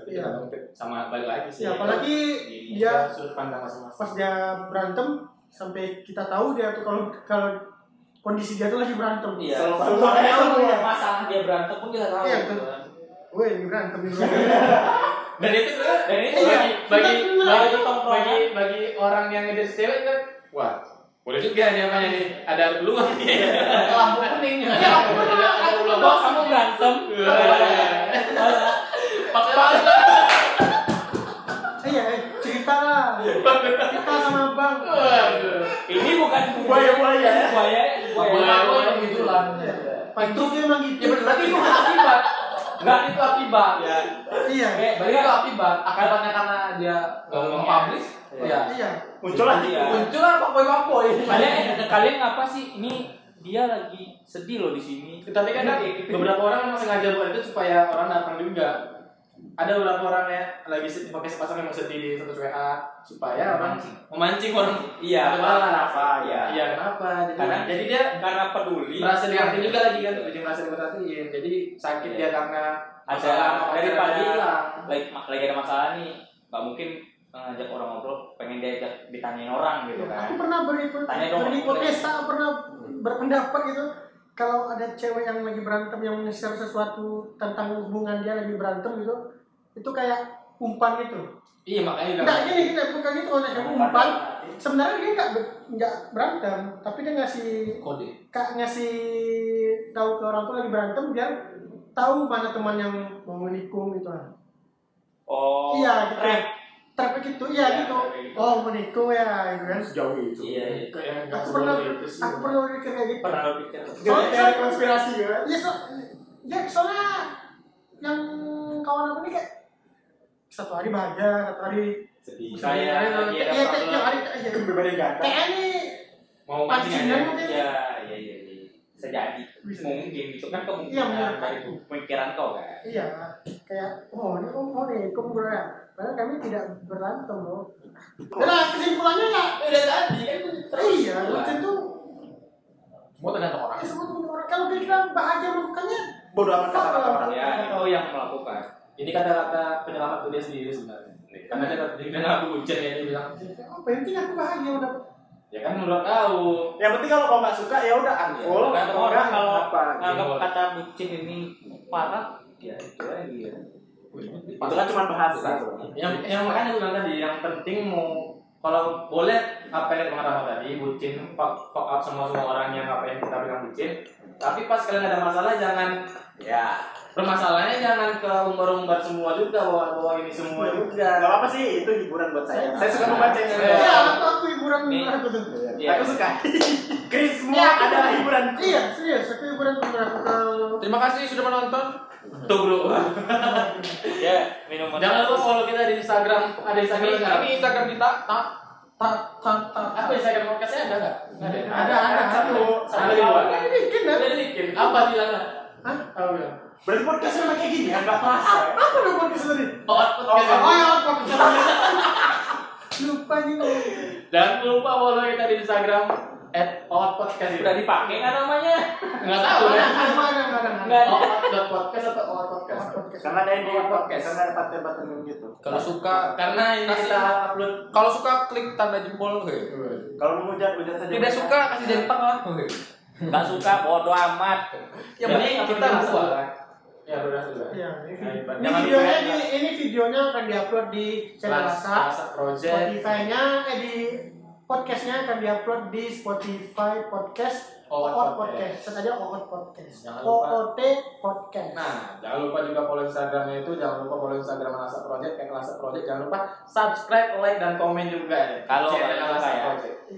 Iya.
Sama balik lagi sih.
Ya, apalagi dia
Iya, sudut pandang masing-masing.
pas dia berantem sampai kita tahu dia tuh kalau kalau kondisi dia tuh lagi berantem.
Iya.
Selalu-
Selalu-
selalu-
Iya.
selalu-
masalah dia berantem pun kita tahu
Iya,
gitu
betul.
kan.
Woi, ini berantem ini
Dan itu sebenarnya
dan itu
Iya.
bagi bagi
Bener,
bagi
bener.
bagi bagi orang yang ngejar si cewek kan. Wah, boleh juga nih apanya nih. Ada peluang.
Lampu kuning.
Ya, aku pernah aku Iya. pernah
bos kamu berantem
Iya. Pakai
[LAUGHS] Iya, eh, cerita lah. Cerita sama Bang.
ini bukan
Buaya, buaya.
buaya
Iya.
buaya
Buaya yang gitu lah.
Iya. Itu dia emang gitu.
Ya berarti itu akibat. Enggak itu akibat. Ya.
Iya.
Eh,
Berarti itu akibat. Akarnya Iya. karena dia nggak
Ngomongnya.
mau publish.
Iya.
Ya.
Iya.
Muncul lagi.
Iya.
Muncul lah fuckboy fuckboy.
kalian eh, kalian ngapa sih ini dia lagi sedih loh di sini
Tapi kan beberapa orang memang sengaja buat itu supaya orang datang juga. Ada beberapa orang yang lagi sedih, pakai sepasang yang mau sedih di status WA supaya orang memancing orang.
iya
Ada malah
apa, iya.
Hmm. Iya kenapa? Jadi,
Karena-
jadi dia
karena peduli
merasa diarti juga lagi kan jadi merasa diperhatiin jadi sakit
Iya.
dia karena
Ada daripada- lagi lagi ada masalah nih nggak mungkin eh, ngajak orang ngobrol pengen diajak ditanyain orang gitu kan
Aku pernah berhipot-
Tanya dong.
berhipotesa, pernah berpendapat gitu. Kalau ada cewek yang lagi berantem yang nge-share sesuatu tentang hubungan dia lagi berantem gitu, itu kayak umpan gitu.
iya makanya dia
Enggak gini, gini, bukan gitu konteksnya umpan. Sebenarnya dia nggak ber- nggak berantem, tapi dia ngasih
Kode.
kak ngasih tahu ke orang tuh lagi berantem biar tahu mana teman yang mau menikung gitu kan.
oh
Iya, gitu.
rap
Tapi gitu, iya
Iya,
gitu.
trap gitu.
Oh menikung ya, gitu kan.
Sejauh itu.
iya iya.
kayak nggak
Aku
boleh
pernah,
itu sih.
aku pernah mikir kayak gitu.
pernah lo pikir
Soalnya-
Jadi konspirasi ya.
Iya, so, ya, soalnya yang kawan aku ini kayak satu hari bahagia, satu hari
Sedih.
Kayak lagi ada
Iya, kayak
problem.
tiap hari kayak gitu.
Berbeda gak ada.
Kayaknya ini
mau mancing
pancingan
aja
mungkin.
iya iya iya iya. bisa jadi
ya. Bisa.
mungkin itu kan
Iya, benar.
kemungkinan dari pemikiran kau kan
Iya, kayak oh ini oh, oh nih kumpulan. Padahal kami tidak berantem loh. Nah kesimpulannya ya
udah tadi kan
iya, bucin tuh
Semua tergantung orang.
ya semua temen orang kalau kita bahagia melakukannya
Bodo amat
fuck
kata-kata
lah.
orang.
Iya.
ya itu yang melakukan
ini kata-kata penyelamat tuh dia sendiri sebenarnya karena dia dia bilang aku hujan ya dia bilang
Oh, penting aku bahagia udah.
ya kan menurut kau
Yang penting kalau kau nggak suka ya udah unfollow.
Iya,
atau
orang
enggak,
kalau-
apa?
nganggap kata bucin ini parah ya itu lagi ya
Itu kan cuma bahasa.
yang yang makanya gue bilang tadi yang penting mau kalau boleh apa yang kata Rama tadi bucin fuck, fuck up sama semua orang yang apa yang kita bilang bucin tapi pas kalian ada masalah jangan ya permasalahannya jangan ke umbar-umbar semua juga bawa-bawa ini
Iya
semua
Gak
juga
apa sih, itu hiburan buat saya. Saya suka membaca yang
Iya, aku aku hiburan
Nih.
aku tuh.
Iya.
Aku [LAUGHS] suka. Krismu
Iya, aku-
adalah hiburan.
Iya, serius, aku hiburan beberapa kalau
Terima kasih sudah menonton.
tuh bro
Ya, minum motor.
Iya. jangan lupa follow kita di Instagram ada Instagram
Kami,
nggak?
kami Instagram kita tak tak tak tak.
apa Instagram podcastnya ada nggak Nggak ada
ada ada
Satu,
Sama
satu
dua.
awal.
Ini bikin kan?
Udah dibikin. apa bilangnya hah apa bilang
Berarti podcast memang kayak gini, agak terasa. ya?
Apa dong podcast tadi?
oh
Oh,
podcast
oh ya, podcast tadi. Lupa nih. Bang.
dan lupa follow kita di Instagram at podcast
Udah dipakai nggak namanya?
nggak tahu
Mana
ya
mana mana mana.
Nggak ada.
podcast atau awal podcast
Karena ada yang di
Podcast.
podcast, karena ada paten-paten gitu.
Kalau suka
karena ini
Kasih.
kita upload
kalau suka klik tanda jempol. oke.
Kalau mau hujan, hujan saja.
Tidak suka kasih jempol lah. oke.
Gak suka, bodo amat.
yang
Ya,
penting kita
upload
buka
dulu.
ya udah sudah
Iya, ini video- ini
Jangan lupa
videonya
ya.
di- ini videonya akan diupload di channel Rasa.
project
Spotify-nya eh di podcastnya akan diupload di Spotify podcast
Oot
Oot
Podcast.
podcast. Set aja Oot podcast.
Jangan lupa.
OOT podcast.
Nah, jangan lupa juga follow Instagramnya itu, jangan lupa follow Instagram Rasa Project, kayak Rasa Project, jangan lupa subscribe, like, dan komen juga ya.
Kalau
Cek
kalian
Rasa
suka ya.
Project.